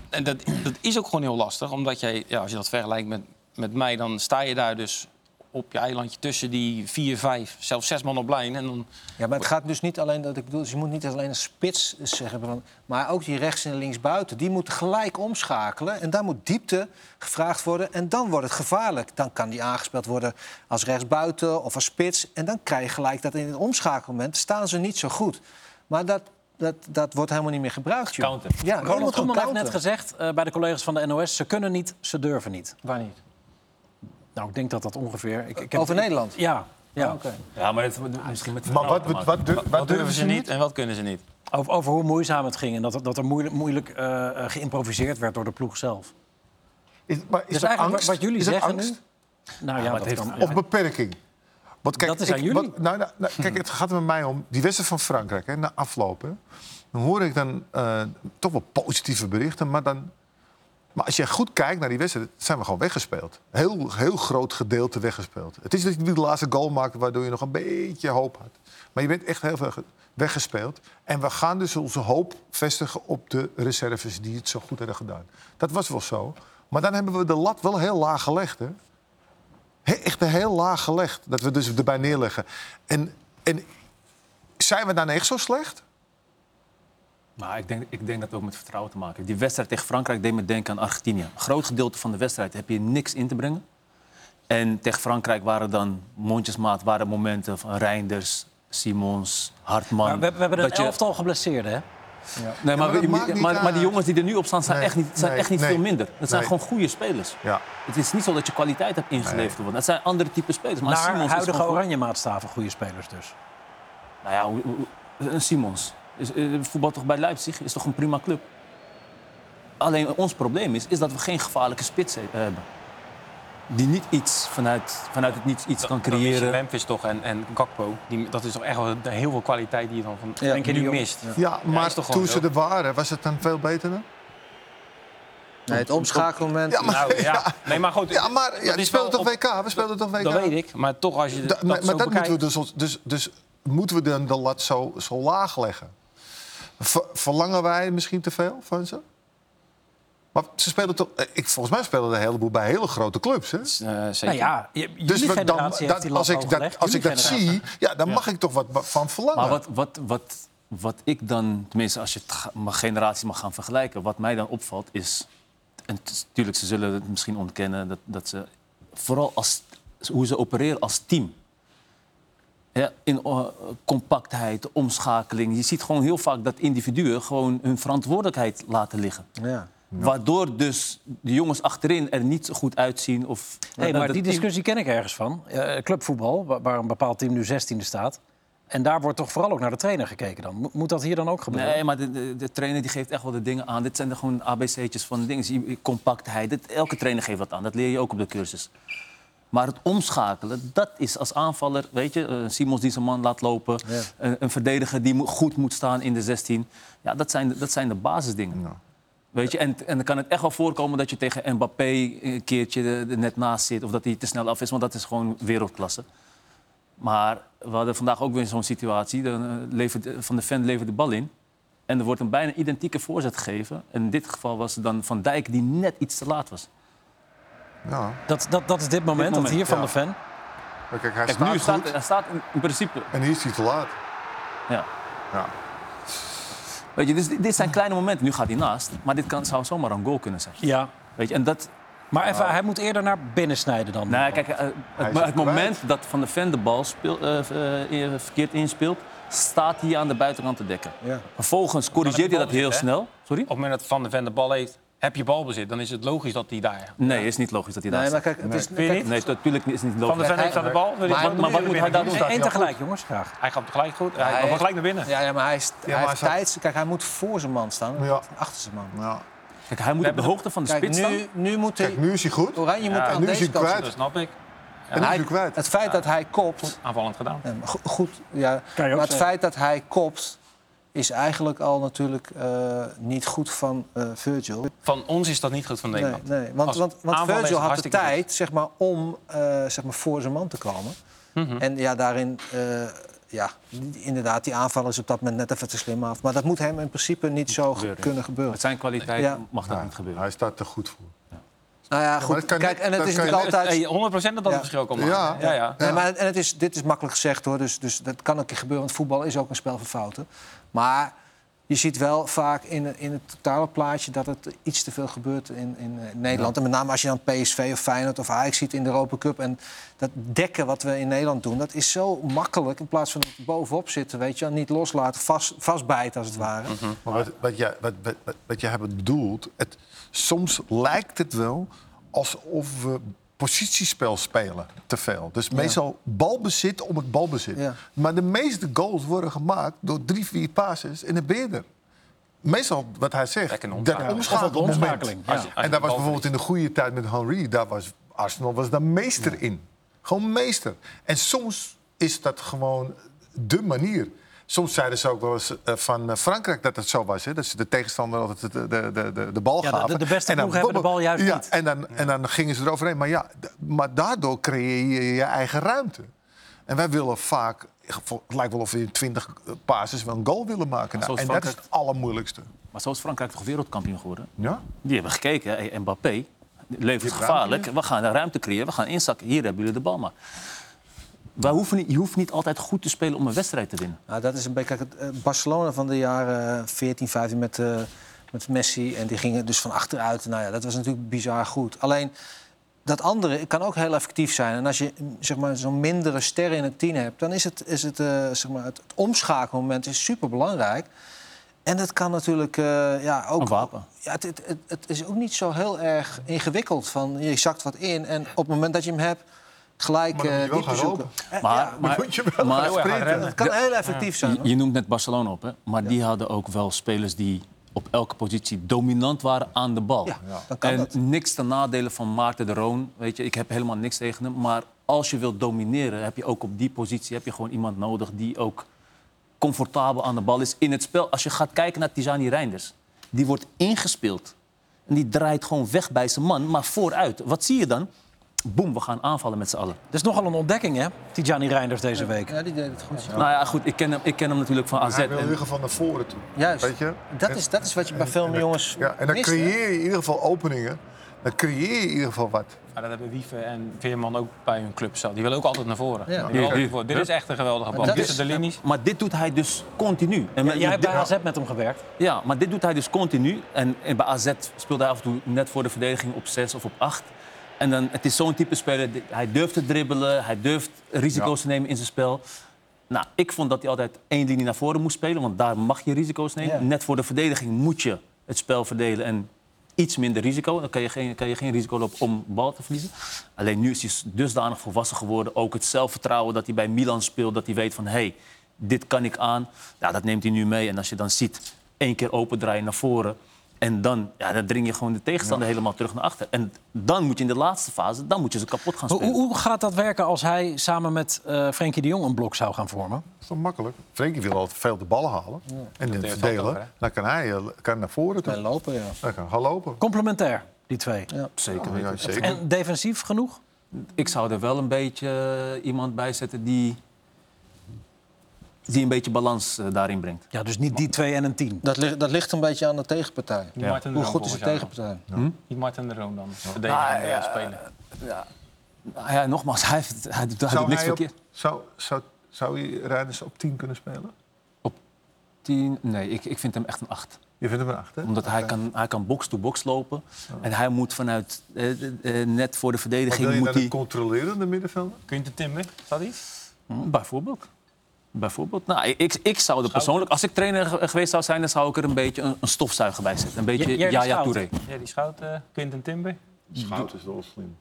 E: En dat, dat is ook gewoon heel lastig, omdat jij, ja, als je dat vergelijkt met, met mij, dan sta je daar dus op je eilandje tussen die vier, vijf, zelfs zes man op lijn. En dan,
B: Ja, maar het gaat dus niet alleen dat ik bedoel, dus je moet niet alleen een spits zeggen, van- maar ook die rechts en links buiten, die moeten gelijk omschakelen en daar moet diepte gevraagd worden en dan wordt het gevaarlijk. Dan kan die aangespeeld worden als rechtsbuiten of als spits en dan krijg je gelijk dat in het omschakelmoment staan ze niet zo goed. Maar dat, dat, dat wordt helemaal niet meer gebruikt. joh.
C: Counter.
B: Ja, je moet
A: Ronald
B: gewoon
A: Koeman heeft net
B: counteren.
A: gezegd eh, bij de collega's van de NOS... ze kunnen niet, ze durven niet.
B: Waar niet?
A: Nou, ik denk dat dat ongeveer... Ik, ik
B: Over Nederland?
A: Ja, ja.
B: Ah, oké.
C: Ja, maar het, misschien met
F: Maar wat,
C: te maken.
F: wat, wat, dur- wat
E: wat durven ze niet en wat kunnen ze niet?
A: Over, over hoe moeizaam het ging en dat, dat er moeilijk, moeilijk eh, eh, geïmproviseerd werd door de ploeg zelf.
F: Is, maar is
A: Dus
F: dat
A: eigenlijk
F: angst?
A: wat jullie
F: is dat
A: zeggen
F: angst?
A: nu... Nou ja,
C: maar
A: dat
C: het
A: kan.
C: heeft-
F: Of beperking? Want
A: Dat is aan jullie.
F: wat- nou, nou, nou, kijk, het gaat er met mij om. Die wedstrijd van Frankrijk, hè, na aflopen... dan hoor ik dan eh, toch wel positieve berichten. Maar, dan, maar als je goed kijkt naar die wedstrijd... zijn we gewoon weggespeeld. Heel, heel groot gedeelte weggespeeld. Het is dat je niet de laatste goal maakt... waardoor je nog een beetje hoop had. Maar je bent echt heel veel ge- weggespeeld. En we gaan dus onze hoop vestigen op de reserves... die het zo goed hebben gedaan. Dat was wel zo. Maar dan hebben we de lat wel heel laag gelegd, hè? He- echt heel laag gelegd. Dat we dus erbij neerleggen. En, en zijn we dan echt zo slecht?
C: Maar ik denk, ik denk dat het ook met vertrouwen te maken heeft. Die wedstrijd tegen Frankrijk deed me denken aan Argentinië. Een groot gedeelte van de wedstrijd heb je niks in te brengen. En tegen Frankrijk waren dan mondjesmaat waren momenten van Reinders, Simons, Hartman.
A: Maar we, we hebben een
C: dat je-
A: elftal geblesseerden, hè?
C: Nee, maar,
F: maar dat
C: we-
F: maakt niet
C: maar, maar die
F: uit.
C: jongens die er nu op staan zijn
F: Nee,
C: echt niet, zijn
F: nee,
C: echt niet
F: nee.
C: veel minder. Het zijn
F: Nee.
C: gewoon goede spelers.
F: Ja.
C: Het is niet zo dat je kwaliteit hebt ingeleverd. worden. Het zijn andere type spelers. Maar
A: Naar
C: Simons is
A: huidige
C: gewoon goed.
A: oranje maatstaven, goede spelers dus.
C: Nou ja, hoe- hoe- een Simons. Is, eh, voetbal toch bij Leipzig? Is toch een prima club? Alleen ons probleem is, is dat we geen gevaarlijke spits he- hebben. Die niet iets vanuit, vanuit het niets iets kan
E: Dan- dan mis je
C: creëren.
E: Memphis toch en, en Gakpo. Die, dat is toch echt wel heel veel kwaliteit die je dan van
A: denk je
E: nu
A: niet, joh.
E: mist.
F: Ja,
E: Ja,
F: maar
E: is toch gewoon
F: toen ze
E: zo.
F: er waren, was het dan veel beter dan?
B: Nee, het omschakelmoment.
E: Nou, ja. Nee, maar goed.
F: Ja, maar ja,
E: dat
F: we
E: is wel
F: speelden toch
E: op-
F: WK? We speelden toch WK?
E: Dat weet ik. Maar toch, als je
F: Da-
E: dat,
F: maar
E: zo
F: maar dat
E: bekijkt...
F: moeten we dus, ons- dus, dus moeten we dan de lat zo, zo laag leggen? Ver- verlangen wij misschien te veel van ze? Maar ze spelen toch... eh, Ik, volgens mij spelen er een heleboel bij hele grote clubs, hè?
E: Eh, zeker.
A: Nou ja, je,
F: Dus
A: jullie
F: we- dan,
A: generatie heeft
F: dat-
A: die lat
F: als ik
A: hoog
F: dat,
A: gelegd.
F: als ik
A: Jullie
F: dat
A: generatie.
F: zie, ja, dan mag ik toch wat ba- van verlangen.
C: Maar wat, wat, wat, wat ik dan, tenminste als je het ga- mijn generatie mag gaan vergelijken, wat mij dan opvalt is. En natuurlijk, ze zullen het misschien ontkennen dat, dat ze. Vooral als, hoe ze opereren als team. Ja, in eh, compactheid, omschakeling. Je ziet gewoon heel vaak dat individuen gewoon hun verantwoordelijkheid laten liggen.
B: Ja.
C: Waardoor dus de jongens achterin er niet zo goed uitzien. Of,
A: Nee,
C: dat
A: maar
C: het
A: die
C: team-
A: discussie ken ik ergens van. Eh, clubvoetbal, wa- waar een bepaald team nu 16e staat. En daar wordt toch vooral ook naar de trainer gekeken dan. Mo- Moet dat hier dan ook gebeuren?
C: Nee, maar de, de, de trainer die geeft echt wel de dingen aan. Dit zijn er gewoon ABC'tjes van dingen. Zie je, Compactheid. Dit- elke trainer geeft wat aan. Dat leer je ook op de cursus. Maar het omschakelen, dat is als aanvaller, weet je, eh, Simons die zijn man laat lopen, een, een verdediger die mo- goed moet staan in de 16. Ja, dat zijn, de- dat zijn de basisdingen. Weet je, en, en dan kan het echt wel voorkomen dat je tegen Mbappé eh, een keertje er- er net naast zit of dat hij te snel af is, want dat is gewoon wereldklasse. Maar we hadden vandaag ook weer zo'n situatie. Dan, eh, levert, eh, van de fan levert de bal in. En er wordt een bijna identieke voorzet gegeven. En in dit geval was het dan Van Dijk die net iets te laat was.
F: Ja.
A: Dat, dat, dat is dit moment,
C: moment,
A: dat hier van
F: ja.
A: de fan.
F: Maar Kijk, hij
C: Kijk,
F: staat
C: nu
F: goed
C: staat, hij staat in, in principe.
F: en hier is hij te laat.
C: Ja.
F: Ja.
C: Weet je, dus dit, dit zijn kleine momenten. Nu gaat hij naast. Maar dit kan, zou zomaar een goal kunnen zijn.
A: Ja.
C: Weet je, en dat,
A: Maar even, hij moet eerder naar binnen snijden dan.
C: Nou, ja, kijk, eh,
F: Hij
C: het,
F: is
C: maar
F: het
C: het moment dat Van de Ven de bal speel- eh, eh, verkeerd inspeelt, staat hij aan de buitenkant te dekken.
B: Ja.
C: Vervolgens corrigeert hij dat heel snel. Sorry?
E: Op het moment dat Van de Ven de bal heeft, heb je balbezit. Dan is het logisch dat hij daar...
C: Nee, is niet logisch dat hij daar
B: Nee,
C: staat.
B: maar kijk, het is,
E: Vind je
B: kijk,
E: niet?
C: Nee, natuurlijk is het niet
E: Van de
C: logisch.
E: Ven heeft aan de bal. wil hij-
B: Maar-
C: maar wat moet hij daar doen?
A: Eén tegelijk, jongens, graag.
E: Hij gaat gelijk goed.
B: Hij-
E: Hij gaat gelijk naar binnen.
B: ja, ja, maar hij, is, hij
F: maar hij
B: heeft
F: staat-
B: tijd. Kijk, hij moet voor zijn man staan.
F: Ja.
B: Achter zijn man.
F: Ja.
C: Kijk, hij moet op de hoogte van de
B: Kijk,
C: spits staan.
B: nu, nu moet hij...
F: Kijk, nu is hij goed.
B: Oranje moet aan
F: nu is
B: deze
F: hij
B: kant
F: kwijt.
B: staan.
E: Dat snap ik.
F: En nu is hij kwijt.
B: Het feit dat hij kopt...
E: Aanvallend gedaan.
B: eh, go- Goed, ja.
A: Kan je
B: Maar
A: ook
B: het
A: zeggen.
B: feit dat hij kopt... is eigenlijk al natuurlijk eh, niet goed van eh, Virgil.
E: Van ons is dat niet goed van
B: Nee,
E: Nederland.
B: nee. Want,
E: Als
B: want, want
E: aanvaller
B: Virgil
E: is het
B: had de
E: hartstikke goed.
B: tijd zeg maar, om eh, zeg maar, voor zijn man te komen.
F: Mhm.
B: En ja, daarin, eh, ja, die- inderdaad, die aanval is op dat moment net even te slim af. Maar dat moet hem in principe niet zo ge-
C: gebeuren.
B: kunnen gebeuren.
C: Met zijn kwaliteit
B: Ja.
C: mag dat
F: Ja,
C: niet gebeuren.
F: Hij staat er goed voor.
B: Nou ja, goed.
F: dat kan
B: Kijk,
F: niet-
B: en het
F: dat
B: is
F: kan
B: natuurlijk
E: Het-
B: altijd.
E: hey, 100% eh, dat dat
B: Ja.
E: verschil kan maken.
F: Ja.
E: Ja, ja.
B: Nee, maar, en het is, dit is makkelijk gezegd hoor, dus, dus dat kan een keer gebeuren, want voetbal is ook een spel van fouten. Maar je ziet wel vaak in, in het totale plaatje dat het iets te veel gebeurt in, in eh, Nederland. En met name als je dan PSV of Feyenoord of Ajax ziet in de Europa Cup. En dat dekken wat we in Nederland doen, dat is zo makkelijk. In plaats van dat we bovenop zitten, weet je, wel, niet loslaten, vast, vastbijten als het
E: Mhm.
B: ware.
F: Maar wat, wat, jij, wat, wat, wat- wat jij hebt bedoeld, het, soms lijkt het wel alsof we positiespel spelen te veel. Dus meestal balbezit om het balbezit.
B: Ja.
F: Maar de meeste goals worden gemaakt door drie, vier passes en een beerder. Meestal wat hij zegt,
E: Lekker een
F: dat
E: omschakeling.
A: Of wat omschakeling,
F: omschakeling.
A: ja. Als je-
E: als je
F: En
E: de
F: daar was
E: bal
F: bijvoorbeeld in de goede tijd met Henry, daar was Arsenal was daar meester in. Gewoon meester. En soms is dat gewoon de manier. Soms zeiden ze ook wel eens eh, van eh, Frankrijk dat het zo was. Hè? Dat ze de tegenstander altijd de, de, de, de, de bal
A: Ja, de-
F: gaven.
A: de beste
F: En dan
A: ploegen hebben de bal juist
F: ja,
A: niet.
F: En dan, en dan gingen ze eroverheen. Maar, ja, d- maar daardoor creëer je je eigen ruimte. En wij willen vaak, het lijkt wel of we in 20 passes wel een goal willen maken. Nou,
C: zoals
F: en dat is
C: Frankrijk-
F: het allermoeilijkste.
C: Maar zo is Frankrijk toch wereldkampioen geworden?
F: Ja?
C: Die hebben gekeken, hey, Mbappé levert
F: ruimte
C: gevaarlijk. We gaan ruimte creëren, we gaan inzakken. Hier hebben jullie de bal maar. Wij hoeven niet, je hoeft niet altijd goed te spelen om een wedstrijd te winnen.
B: Nou, dat is een beetje kijk, het, eh, Barcelona van de jaren eh, 14, 15 met, eh, met Messi. En die gingen dus van achteruit. Nou ja, dat was natuurlijk bizar goed. Alleen dat andere kan ook heel effectief zijn. En als je mm, zeg maar, zo'n mindere ster in het team hebt, dan is het, is het, eh, zeg maar, het, het omschakelmoment is superbelangrijk. En dat kan natuurlijk eh, ja, ook.
C: Een wapen.
B: Ja, het, het, het, het is ook niet zo heel erg ingewikkeld. Van, je zakt wat in en op het moment dat je hem hebt, gelijk
F: Maar dan moet je
B: eh
F: wel
B: diepte
F: gaan
B: zoeken.
C: Maar, maar,
F: Moet je wel
C: maar-
F: gaan sprinten.
B: Het kan heel effectief zijn.
C: je,
B: hoor.
C: je noemt net Barcelona op, hè? maar die hadden ook wel spelers die op elke positie dominant waren aan de bal.
B: Ja, Ja. dan kan
C: en
B: dat.
C: niks ten nadele van Maarten de Roon. Weet je, ik heb helemaal niks tegen hem. Maar als je wilt domineren, heb je ook op die positie heb je gewoon iemand nodig die ook comfortabel aan de bal is in het spel. Als je gaat kijken naar Tizani Reinders, die wordt ingespeeld. En die draait gewoon weg bij zijn man, maar vooruit. Wat zie je dan? Boem, we gaan aanvallen met z'n allen.
A: Dat is nogal een ontdekking, hè? Tijani Reinders deze week.
B: Ja, die deed het goed.
C: Nou ja, goed, ik ken hem, ik ken hem natuurlijk van AZ.
F: Hij wil in
C: en-
F: ieder geval naar voren toe.
B: Juist.
F: Weet je?
B: Dat,
F: En-
B: is, dat is wat je bij
F: en
B: veel
F: dan-
B: jongens
F: Ja, en dan
B: mist, hè?
F: creëer je in ieder geval openingen. Dan creëer je in ieder geval wat.
E: Maar dat hebben Wieven en Veerman ook bij hun club zo. Die willen ook altijd naar voren.
B: Ja.
E: Die willen altijd naar voren. Dit is echt een geweldige bal.
B: dat
E: Tussen
B: is-
E: de linies.
C: Maar dit doet hij dus continu. En
A: Ja,
C: met-
A: jij hebt
C: met
A: bij
C: dit-
A: AZ met hem gewerkt.
C: ja, maar dit doet hij dus continu. En, en bij AZ speelde hij af en toe net voor de verdediging op 6 of op 8. En dan, het is zo'n type speler. die- Hij durft te dribbelen, hij durft risico's te nemen in zijn spel. Nou, ik vond dat hij altijd één linie naar voren moest spelen, want daar mag je risico's nemen.
B: Ja.
C: Net voor de verdediging moet je het spel verdelen en iets minder risico. Dan kan je geen, kan je geen risico lopen om bal te verliezen. Alleen nu is hij dusdanig volwassen geworden. Ook het zelfvertrouwen dat hij bij Milan speelt, dat hij weet van hé, hey, dit kan ik aan. Ja, dat neemt hij nu mee. En als je dan ziet, één keer opendraaien naar voren. En dan, ja, dan dring je gewoon de tegenstander helemaal terug naar achter. En dan moet je in de laatste fase, dan moet je ze kapot gaan
A: Hoe,
C: spelen.
A: hoe- hoe gaat dat werken als hij samen met eh Frenkie de Jong een blok zou gaan vormen?
F: Dat is toch makkelijk? Frenkie wil altijd veel de bal halen en dan
E: heeft
F: verdelen.
E: dat over, hè?
F: dan kan hij eh, kan naar voren
B: Bij
F: toe.
B: lopen, ja.
F: Dan kan hij gaan lopen.
A: Complementair, die twee.
C: Zeker
F: Ja, zeker.
A: En defensief genoeg?
C: Ik zou er wel een beetje eh, iemand bij zetten die, die een beetje balans eh, daarin brengt.
A: Ja, dus niet die twee en een tien.
B: Dat, ligt, dat ligt een beetje aan de tegenpartij.
E: Die Martin de
B: Hoe
E: Roon
B: goed is de
E: volgens jou dan?
B: tegenpartij?
E: Die Martin de Roon dan. Verdedigen en eh, spelen.
C: Nou ja, nogmaals, hij, heeft- hij, doet- hij doet
F: Zou
C: niks
F: hij op,
C: verkeerd.
F: zou, zou, zou hij Reinders op 10 kunnen spelen?
C: Tien, nee, ik, ik vind hem echt een acht.
F: Je vindt hem een 8, hè?
C: Omdat hij kan hij kan box-to-box lopen. En hij moet vanuit, eh, eh, net voor de
F: Maar
C: verdediging...
F: wil je
C: moet
F: naar de
C: hij,
F: controlerende middenvelder?
E: Quinten Timber, staat die?
C: Hm, bijvoorbeeld. Bijvoorbeeld. Nou, ik, ik zou er persoonlijk, als ik trainer ge- geweest zou zijn, dan zou ik er een beetje een, een stofzuiger bij zetten. Een beetje
A: Jerry
C: Yaya
A: Schout.
C: Touré.
E: Ja, die schout. eh, Quinten Timber.
F: Schout is wel slim.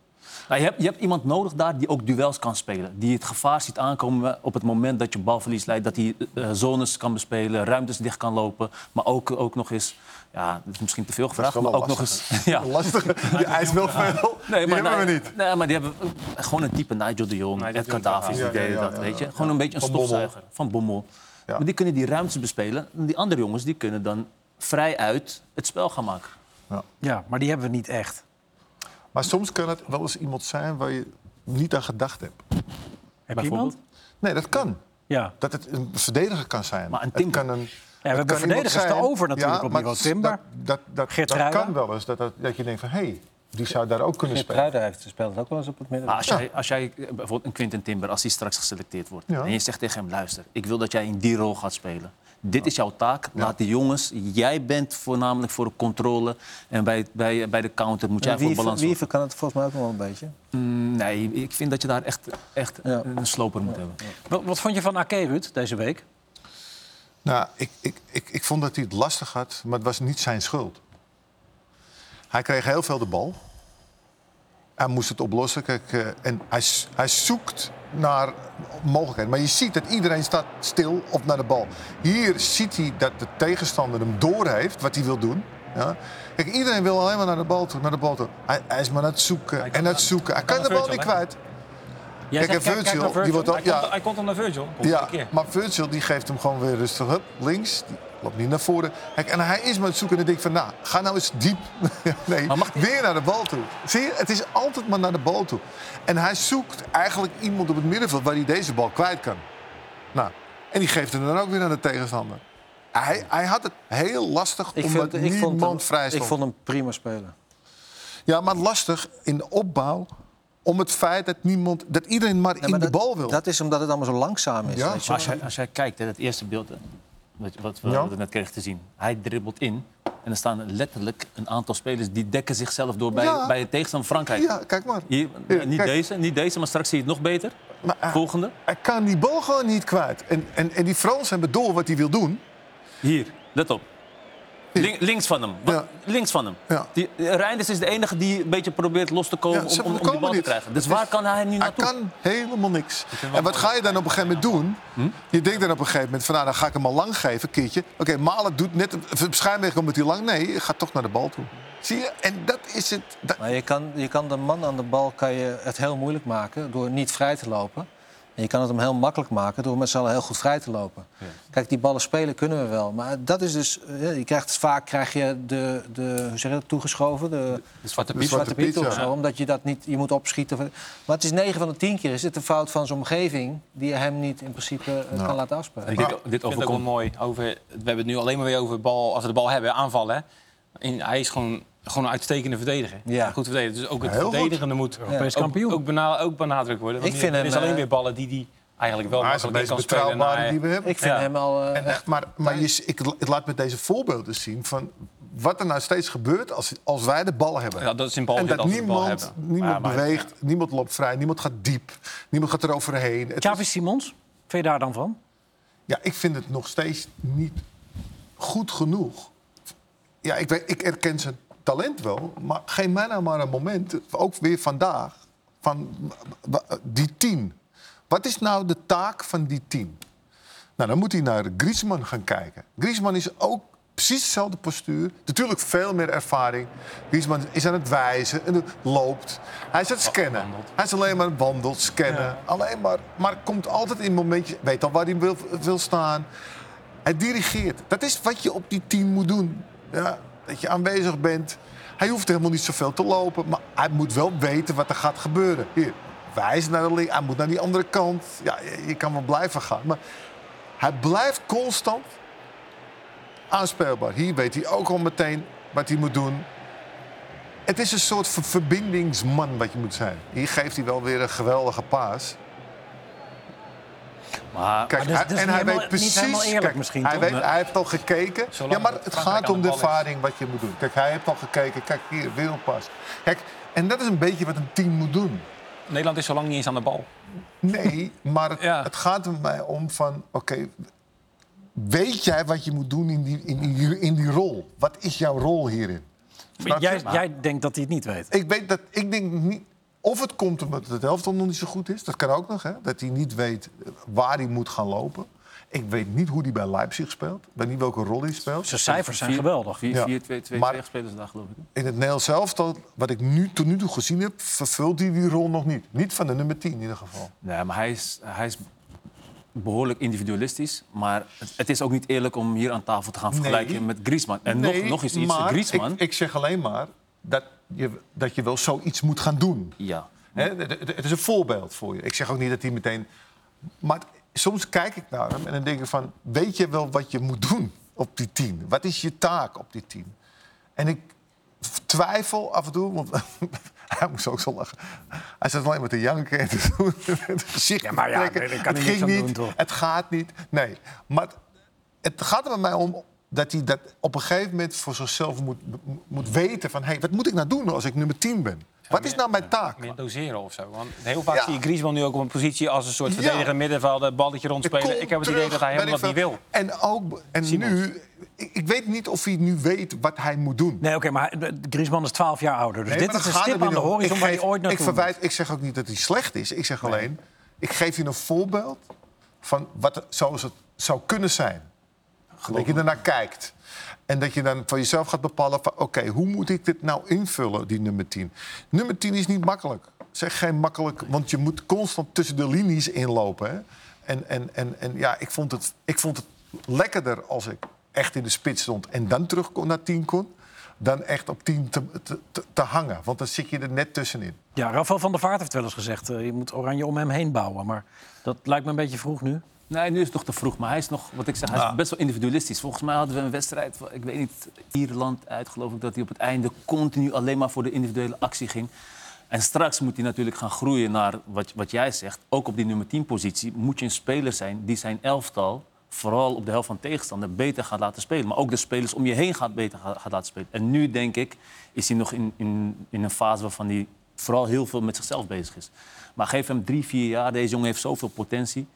C: Nou, je, hebt, je hebt iemand nodig daar die ook duels kan spelen. Die het gevaar ziet aankomen op het moment dat je balverlies leidt. Dat hij eh, zones kan bespelen, ruimtes dicht kan lopen. Maar ook, ook nog eens, ja, dat is misschien te veel gevraagd,
F: wel
C: maar
F: een
C: ook nog eens... Ja.
F: Ah, Lastig. Die eist wel veel. die hebben we
C: nee,
F: niet.
C: Nee, maar die hebben eh, gewoon een type Nigel de Jong,
E: Nigel
C: Ed
E: de Jong,
C: Gaddafi, die
F: ja, ja,
C: deden
F: ja,
C: dat,
F: ja,
C: weet je.
F: ja.
C: Gewoon een beetje een
F: Van Bommel.
C: stofzuiger van Bommel.
F: Ja.
C: Maar die kunnen die ruimtes bespelen. En die andere jongens die kunnen dan vrij uit het spel gaan maken.
A: Ja, maar die hebben we niet echt.
F: Maar soms kan het wel eens iemand zijn waar je niet aan gedacht hebt.
A: Heb je iemand?
F: Nee, dat kan.
A: Ja.
F: Dat het een verdediger kan zijn.
C: Maar een
F: Het
C: Timber.
F: kan een,
A: we hebben verdedigers te over natuurlijk op
F: maar
A: niveau
F: dat-
A: Timber.
F: Dat, dat, dat,
A: Geertruida.
F: kan wel eens. Dat, dat, dat je denkt van, hé, hey, die zou daar ook kunnen
B: Geert
F: spelen.
B: Kruijder heeft speelt ook wel eens op het midden.
C: Maar als, jij, als jij eh, bijvoorbeeld een Quinten Timber, als hij straks geselecteerd wordt,
F: Ja.
C: en je zegt tegen hem: luister, ik wil dat jij in die rol gaat spelen. Dit is jouw taak. Laat de jongens. Jij bent voornamelijk voor de controle. En bij, bij, bij de counter moet jij
B: wie,
C: voor balans zorgen.
B: kan het volgens mij ook nog wel een beetje.
C: Mm, Nee, ik vind dat je daar echt, echt
B: Ja.
C: een sloper moet hebben.
A: Wat, wat vond je van Ake Ruud deze week?
F: Nou, ik, ik, ik, ik vond dat hij het lastig had, maar het was niet zijn schuld. Hij kreeg heel veel de bal. Hij moest het oplossen. Kijk, eh, en hij, s- hij zoekt naar mogelijkheden. Maar je ziet dat iedereen staat stil op naar de bal. Hier ziet hij dat de tegenstander hem doorheeft wat hij wil doen. Ja. Kijk, iedereen wil alleen maar naar de bal toe. Naar de bal toe. Hij, hij is maar aan het zoeken
E: Hij kan-
F: en aan het zoeken. Hij kan,
E: kan
F: de
E: naar
F: bal niet
E: Virgil, hè?
F: kwijt.
A: Jij
F: Kijk, en
A: zegt,
F: Virgil,
A: naar
F: die wordt al,
E: Hij,
F: ja,
E: komt, hij komt om naar Virgil. Komt
F: ja,
E: een keer.
F: maar Virgil die geeft hem gewoon weer rustig hup, links. Die loopt niet naar voren. Kijk, en hij is maar het zoeken en ik denk van, nou, ga nou eens diep. nee,
C: Maar mag die-
F: weer naar de bal toe. Zie je, het is altijd maar naar de bal toe. En hij zoekt eigenlijk iemand op het middenveld waar hij deze bal kwijt kan. Nou, en die geeft hem dan ook weer aan de tegenstander. Hij, hij had het heel lastig omdat niemand vrij
B: ik
F: stond.
B: vond hem prima spelen.
F: Ja, maar lastig in de opbouw om het feit dat, niemand, dat iedereen maar in
B: maar dat-
F: de bal wil.
B: Dat is omdat het allemaal zo langzaam is.
F: Ja.
B: weet je
C: Maar
B: wel.
C: als jij, als jij kijkt, hè, het eerste beeld hè, wat, wat we
F: Ja.
C: wat we net kregen te zien. Hij dribbelt in en er staan letterlijk een aantal spelers die dekken zichzelf door bij,
F: Ja.
C: bij de tegenstander Frankrijk.
F: Ja, kijk maar.
C: Hier,
F: Ja,
C: niet
F: kijk.
C: deze, niet deze, maar straks zie je het nog beter.
F: Maar hij-
C: Volgende.
F: Hij kan die bal gewoon niet kwijt. En, en, en die Fransen hebben door wat hij wil doen.
C: Hier, let op. Link- links van hem. Wat-
F: Ja.
C: Links van hem.
F: Ja.
C: Die, Eh, Reinders is de enige die een beetje probeert los te komen
F: Ja, ze
C: om, om, om die
F: komen
C: bal te
F: niet.
C: krijgen. Dus waar kan hij nu
F: Hij
C: naartoe?
F: kan helemaal niks. En wat ga je dan op een gegeven moment doen?
C: Hm?
F: Je denkt dan op een gegeven moment van, nou, dan ga ik hem al lang geven, een keertje. Oké, Malen doet net, schijnweg omdat hij lang... Nee, je gaat toch naar de bal toe. Zie je? En dat is het. Dat-
B: Maar je kan, je kan de man aan de bal kan je het heel moeilijk maken door niet vrij te lopen. En je kan het hem heel makkelijk maken door met z'n allen heel goed vrij te lopen. Kijk, die ballen spelen kunnen we wel. Maar dat is dus... eh, Je krijgt, vaak krijg je de, de, hoe zeg je dat, toegeschoven. De,
E: De Zwarte
F: De Zwarte
E: Piet.
B: Zwarte Piet
F: Piet,
B: of
F: ja.
B: zo, omdat je dat niet, je moet opschieten. Maar het is 9 van de 10 keer is het een fout van zijn omgeving... die hem niet in principe eh,
F: Nou,
B: kan laten afspelen.
C: Ik
E: Ik
C: denk,
E: vind-
C: dit
E: ik vind het ook
C: overkomt
E: wel mooi. Over, we hebben het nu alleen maar weer over bal, als we de bal hebben, aanvallen. Hè? En hij is gewoon, gewoon een uitstekende verdediger.
B: Ja.
E: Een Goed verdediger. Dus ook het
F: Heel goed.
E: verdedigende moet
A: Europees
E: ook,
A: kampioen.
E: ook, bena- ook benadrukt worden. Want
B: Ik
E: ik
B: vind
E: vind er
B: hem,
E: is alleen
B: eh,
E: weer ballen die hij eigenlijk wel
F: Maar hij is de
E: makkelijk in
F: meest
E: kan spelen. en
F: betrouwbare
E: hij-
F: die we hebben.
B: Ik vind
C: Ja.
B: hem al... eh,
F: En echt, maar maar je, ik, ik laat met deze voorbeelden zien van wat er nou steeds gebeurt als, als wij de bal hebben.
E: Ja, dat is in bal
F: en
E: dit
F: dat
E: als we de bal
F: niemand,
E: hebben.
F: niemand
E: Ja, maar-
F: beweegt, niemand loopt vrij, niemand gaat diep, niemand gaat eroverheen. Het
A: Xavi Simons, vind je daar dan van?
F: Ja, ik vind het nog steeds niet goed genoeg. Ja, ik, weet, ik erken zijn talent wel, maar geef mij nou maar een moment, ook weer vandaag, van w- w- die tien. Wat is nou de taak van die tien? Nou, dan moet hij naar Griezmann gaan kijken. Griezmann is ook precies dezelfde postuur. Natuurlijk veel meer ervaring. Griezmann is aan het wijzen en loopt. Hij is aan het scannen. Hij is alleen maar wandelt, scannen. Alleen maar, maar komt altijd in momentjes... Weet al waar hij wil, wil staan. Hij dirigeert. Dat is wat je op die team moet doen. Ja, dat je aanwezig bent. Hij hoeft helemaal niet zoveel te lopen. Maar hij moet wel weten wat er gaat gebeuren. Hier, wijs naar de link. Hij moet naar die andere kant. Ja, je, je kan wel blijven gaan. Maar hij blijft constant aanspeelbaar. Hier weet hij ook al meteen wat hij moet doen. Het is een soort ver- verbindingsman wat je moet zijn. Hier geeft hij wel weer een geweldige paas.
C: Maar
F: Kijk,
A: Maar dat is-
F: hij-
A: dat is niet
F: en hij
A: helemaal-
F: weet
A: niet
F: precies.
A: helemaal eerlijk
F: kijk,
A: misschien,
F: hij,
A: toch?
F: weet, hij heeft al gekeken.
E: Zolang
F: ja, maar
E: het
F: het
E: Frankrijk
F: gaat
E: aan
F: om de
E: de bal is.
F: ervaring wat je moet doen. Kijk, hij heeft al gekeken. Kijk, hier, wereldpas. Kijk, en dat is een beetje wat een team moet doen.
E: Nederland is zo lang niet eens aan de bal.
F: Nee, maar het,
E: Ja.
F: het gaat er mij om van... Oké, weet jij wat je moet doen in die, in, die, in die rol? Wat is jouw rol hierin? Snap je?
A: Jij, jij denkt dat hij het niet weet.
F: Ik weet dat... Ik denk niet... Of het komt omdat het elftal nog niet zo goed is. Dat kan ook nog, hè. Dat hij niet weet waar hij moet gaan lopen. Ik weet niet hoe hij bij Leipzig speelt. Ik weet niet welke rol hij speelt.
A: Zijn cijfers zijn geweldig.
C: 4-2-2
F: Ja. Maar-
C: spelers daar, geloof ik.
F: In het Nederlands elftal, wat ik nu, tot nu toe gezien heb... vervult hij die rol nog niet. Niet van de nummer 10 in ieder geval.
C: Nee, maar hij is, hij is behoorlijk individualistisch. Maar het, het is ook niet eerlijk om hier aan tafel te gaan vergelijken
F: Nee.
C: met Griezmann. En
F: Nee,
C: nog, nog eens iets,
F: maar
C: Griezmann...
F: Ik, ik zeg alleen maar dat je, dat je wel zoiets moet gaan doen.
C: Ja.
F: Hè, d- d- het is een voorbeeld voor je. Ik zeg ook niet dat hij meteen... Maar soms kijk ik naar hem en dan denk ik van... weet je wel wat je moet doen op die team? Wat is je taak op die team? En ik twijfel af en toe, want hij moest ook zo lachen. Hij zat alleen maar te janken en te doen. Het gezicht ja,
A: maar ja, nee, daar kan hij
F: het
A: niks
F: ging
A: aan
F: niet,
A: doen, toch?
F: het gaat niet. Nee, maar het gaat er bij mij om dat hij dat op een gegeven moment voor zichzelf moet, moet weten van... hey, wat moet ik nou doen als ik nummer 10 ben? Wat is nou mijn taak?
E: Meer doseren of zo. Want heel vaak
F: Ja.
E: zie je Griezmann nu ook op een positie als een soort
F: Ja.
E: verdediger middenvelder, balletje rondspelen.
F: Kom
E: Ik heb het
F: terug,
E: idee dat hij helemaal
F: weet
E: dat
F: ik
E: niet wil.
F: veel. En, ook, en nu, ik, ik weet niet of hij nu weet wat hij moet doen.
A: Nee, oké, maar eh, Griezmann is 12 jaar ouder. Dus
F: Nee,
A: dit
F: maar
A: is
F: dat
A: een
F: gaat
A: stip
F: er niet
A: aan de
F: om.
A: horizon
F: Ik
A: waar
F: geef-
A: je ooit naartoe
F: ik, verwijt, ik zeg ook niet dat hij slecht is. Ik zeg alleen, ik geef je een voorbeeld van wat er- zoals het zou kunnen zijn. dat je ernaar kijkt. En dat je dan van jezelf gaat bepalen van... oké, hoe moet ik dit nou invullen, die nummer 10? Nummer 10 is niet makkelijk. Zeg geen makkelijk, want je moet constant tussen de linies inlopen. Hè? En, en, en, en ja, ik vond, het, ik vond het lekkerder als ik echt in de spits stond... en dan terug kon naar 10 kon, dan echt op 10 te, te, te- te hangen. Want dan zit je er net tussenin.
A: moet. Ja, Rafael van der Vaart heeft wel eens gezegd... eh, je moet Oranje om hem heen bouwen. Maar dat lijkt me een beetje vroeg nu.
C: Nee, nu is het nog te vroeg. Maar hij is nog, wat ik zeg, hij is best wel individualistisch. Volgens mij hadden we een wedstrijd, ik weet niet, Ierland uit, geloof ik, dat hij op het einde continu alleen maar voor de individuele actie ging. En straks moet hij natuurlijk gaan groeien naar wat, wat jij zegt. Ook op die nummer 10 positie moet je een speler zijn die zijn elftal, vooral op de helft van tegenstander, beter gaat laten spelen. Maar ook de spelers om je heen gaat beter ga- gaat laten spelen. En nu denk ik, is hij nog in, in, in een fase waarvan hij vooral heel veel met zichzelf bezig is. Maar geef hem drie, vier jaar. Deze jongen heeft zoveel potentie.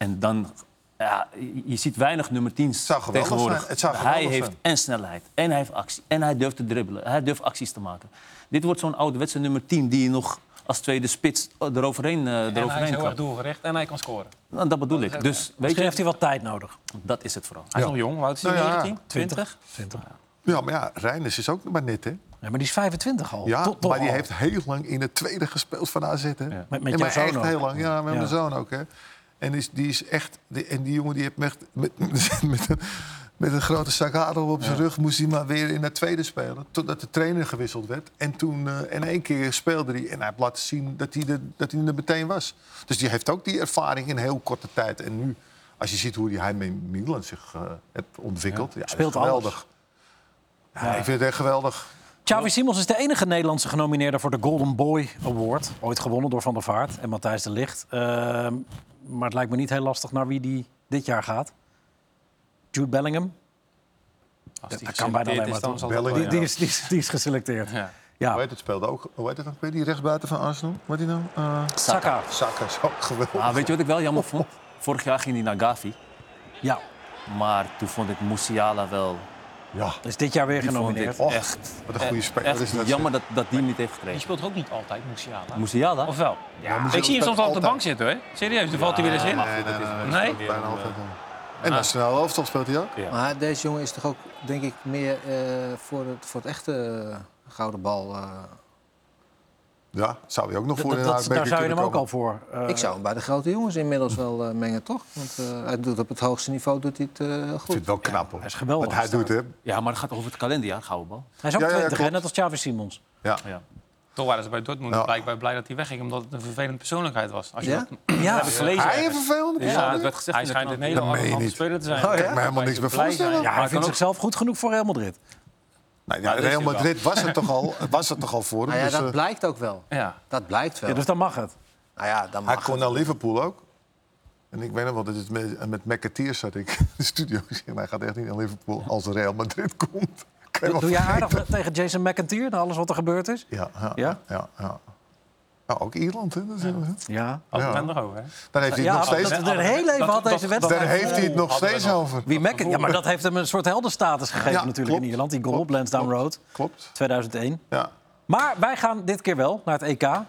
C: En dan, ja, je- je ziet weinig nummer 10
F: zou geweldig
C: tegenwoordig.
F: zijn. Het zou
C: hij
F: geweldig
C: heeft
F: zijn.
C: en snelheid, en hij heeft actie, en hij durft te dribbelen, hij durft acties te maken. Dit wordt zo'n ouderwetse nummer 10 die je nog als tweede spits eroverheen, eh
E: En hij is
C: eroverheen
E: heel erg
C: kan.
E: doelgericht en hij kan scoren.
C: Nou, dat bedoel ik. Dus weet
A: Misschien
C: je,
A: heeft hij wat tijd nodig.
C: dat is het vooral.
E: Hij is nog jong, Wout is hij
F: Nou ja.
E: 19, 20.
F: Ja, maar ja, Reinders is ook maar net, hè?
A: Ja, maar die is 25 al.
F: Ja,
A: Toch- toch
F: maar die
A: al.
F: heeft heel lang in het tweede gespeeld van AZ, hè?
A: Met,
F: En
A: met jouw
F: maar echt
A: zoon
F: heel
A: ook.
F: lang. Ja, met
A: Ja.
F: mijn zoon ook, hè. En die is, die is echt... Die, en die jongen die heeft me echt... Met, met, met een, met een grote zak hagel op zijn rug moest hij maar weer in het tweede spelen. Totdat de trainer gewisseld werd. En toen... eh, in één keer speelde hij. En hij heeft laten zien dat hij, er, dat hij er meteen was. Dus die heeft ook die ervaring in heel korte tijd. En nu, als je ziet hoe die, hij met Milan zich eh heeft ontwikkeld. Ja, dat is
A: Speelt alles.
F: geweldig. Ja, Ik vind het echt geweldig.
A: Xavi Simons is de enige Nederlandse genomineerde voor de Golden Boy Award. Ooit gewonnen door Van der Vaart en Matthijs de Ligt. Ehm, maar het lijkt me niet heel lastig naar wie die dit jaar gaat. Jude Bellingham,
E: Als die
A: dat kan bijna alleen
E: geselecteerd
A: maar.
E: is, dan zal
F: Bellingham.
E: dat
A: Die,
E: wel,
A: die,
E: Oh, ja.
A: is, die, is, die is geselecteerd.
E: Ja.
F: Hoe
A: Ja,
F: heet het speelde ook? Hoe heet het ook weer? Die rechtsbuiten van Arsenal? Wat die nou? Eh
A: Saka.
F: Saka is ook geweldig.
C: Maar Ah, weet je wat ik wel jammer vond? Vorig jaar ging hij naar Gavi,
A: Ja,
C: maar toen vond ik Musiala wel...
F: Ja,
A: is dit jaar weer
C: Die vond
A: genomineerd.
C: ik
F: Och,
C: echt,
F: wat een goede speler is
C: echt
F: dat,
C: jammer dat, dat die hem niet heeft
E: Die
C: gekregen.
E: speelt er ook niet altijd, Musiala.
C: Musiala?
E: Of wel? ik zie hem soms al op de bank zitten, hoor. Serieus, dan valt hij weer eens in.
C: maar goed, dat is-
E: Nee?
F: bijna altijd. eh. En nationale elftal speelt hij ook?
C: Ja.
B: Maar deze jongen is toch ook, denk ik, meer eh, voor, het, voor het echte eh, gouden bal. eh.
F: Ja, zou hij ook nog
A: Dat-
F: voor
A: dat-
F: in
A: dat- daar zou je hem ook al voor. eh,
B: ik zou hem bij de grote jongens inmiddels wel eh, mengen, toch? Want eh, hij doet op het hoogste niveau doet hij het eh,
F: Ik vind het
B: goed.
F: wel knap, hoor.
A: hij is geweldig
F: Wat hij doet, hè?
C: Ja, maar het gaat over het kalenderjaar, gouden bal.
A: Hij is ook
F: Ja, ja,
A: 20, hè,
F: klopt.
A: net als Xavi Simons.
F: Ja.
C: Ja.
E: Toch waren ze bij Dortmund
F: Ja.
E: blijkbaar blij dat hij wegging, omdat het een vervelende persoonlijkheid was. Als je
B: Ja?
E: dat-
A: Ja,
F: Hij heeft een vervelende
C: Ja,
F: persoon.
C: het werd gezegd
E: Hij
C: in de
E: schijnt een
C: krant.
F: Dat
E: hele
F: meen je
E: arrogante
F: niet. Oh,
E: speler te zijn.
F: Ik kan me helemaal niks bij voorstellen.
A: ja, hij
E: kan
A: vindt
E: ook-
A: zichzelf goed genoeg voor Real Madrid.
F: Nee, ja,
E: dat is
F: Real
E: hij wel.
F: Madrid was het toch al, was het toch al voor hem.
B: Nou ja,
F: dus,
B: dat
F: eh,
B: blijkt ook wel.
E: Ja.
B: Dat blijkt wel.
A: Ja, dus dan mag het.
B: Nou ja, dan
F: hij
B: mag
F: kon
B: het.
F: naar Liverpool ook. En ik weet nog wel, dat het met, met McAteer zat ik in de studio. Ik zeg, hij gaat echt niet naar Liverpool als Real Madrid komt. Kan je wel
A: Doe je
F: vergeten.
A: aardig tegen Jason McIntyre na alles wat er gebeurd is?
F: Ja, ja,
A: Ja?
F: ja. ja, Nou, ook Ierland, hè? Dat is-
A: Ja.
E: Had
F: Ja.
E: het nog over, hè?
F: Daar heeft hij
A: Ja,
F: het nog
A: dat-
F: steeds,
A: dat- dat- heel even had deze
F: daar
A: wedstrijd. Eh,
F: heeft hij het nog steeds over.
A: Wie Mac- ja, maar dat heeft hem een soort heldenstatus gegeven
F: Ja,
A: natuurlijk
F: klopt.
A: in Ierland. Die goal op
F: Klopt,
A: Lansdowne
F: klopt.
A: Road,
F: Klopt.
A: 2001.
F: Ja.
A: Maar wij gaan dit keer wel naar het EK.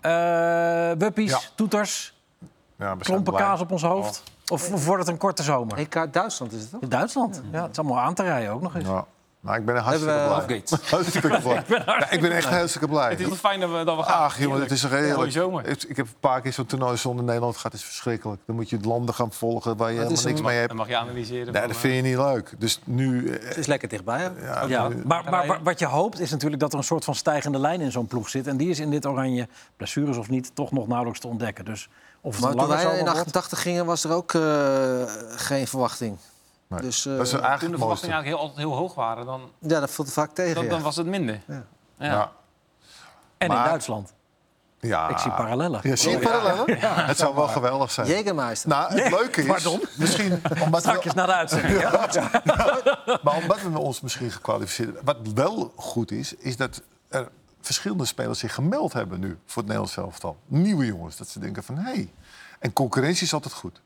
A: Eh wuppies,
F: Ja.
A: toeters,
F: Ja, we zijn Oh.
A: klompen
F: blij.
A: kaas op ons hoofd. Of, of wordt het een korte zomer?
B: EK Duitsland is het toch?
A: In Duitsland. Ja, het is allemaal aan te rijden ook nog eens.
F: Ja. Nou, ik ben er hartstikke
B: Hebben we-
F: blij. Hartstikke blij. Ja, ik ben echt hartstikke blij.
E: Het is toch fijn dat we, dat we gaan.
F: Ach, jongen, het is toch
E: Mooie
F: heerlijk.
E: zomer.
F: Ik, ik heb een paar keer zo'n toernooi zonder Nederland gehad. Het is verschrikkelijk. Dan moet je het landen gaan volgen waar je
B: is
F: helemaal niks
B: een-
F: mee hebt.
E: Dan mag je analyseren.
F: Nee,
E: van,
F: dat
E: eh,
F: vind je niet leuk. Dus nu... eh,
B: Het is lekker dichtbij. hè?
F: Ja,
A: Ja,
F: nu-
A: maar, maar wa- wat je hoopt is natuurlijk dat er een soort van stijgende lijn in zo'n ploeg zit. En die is in dit oranje, blessures of niet, toch nog nauwelijks te ontdekken. Dus of het
B: Maar
A: een
B: toen
A: lange
B: wij in
A: zomer wordt...
B: 88 gingen, was er ook eh, geen verwachting.
F: nee.
B: Dus, eh,
F: dat is
E: Toen
F: eigenlijk
E: de
F: het
E: verwachtingen
F: mooiste.
E: eigenlijk heel, altijd heel hoog waren, dan,
B: Ja, dat valt vaak tegen.
E: dan,
B: ja.
E: dan was het minder. Ja.
F: Ja.
A: En in
F: Maar-
A: Duitsland.
F: Ja.
A: Ik zie parallellen.
F: Ja,
E: Oh,
F: zie je parallellen? Het zou wel geweldig zijn.
B: Jägermeister.
F: Nou, het leuke is, misschien omdat
A: Strakjes
F: we,
A: na de uitzending. hè?
F: maar omdat we ons misschien gekwalificeerd hebben. Wat wel goed is, is dat er verschillende spelers zich gemeld hebben nu voor het Nederlands elftal. Nieuwe jongens, dat ze denken van hé. Hey. En concurrentie is altijd goed,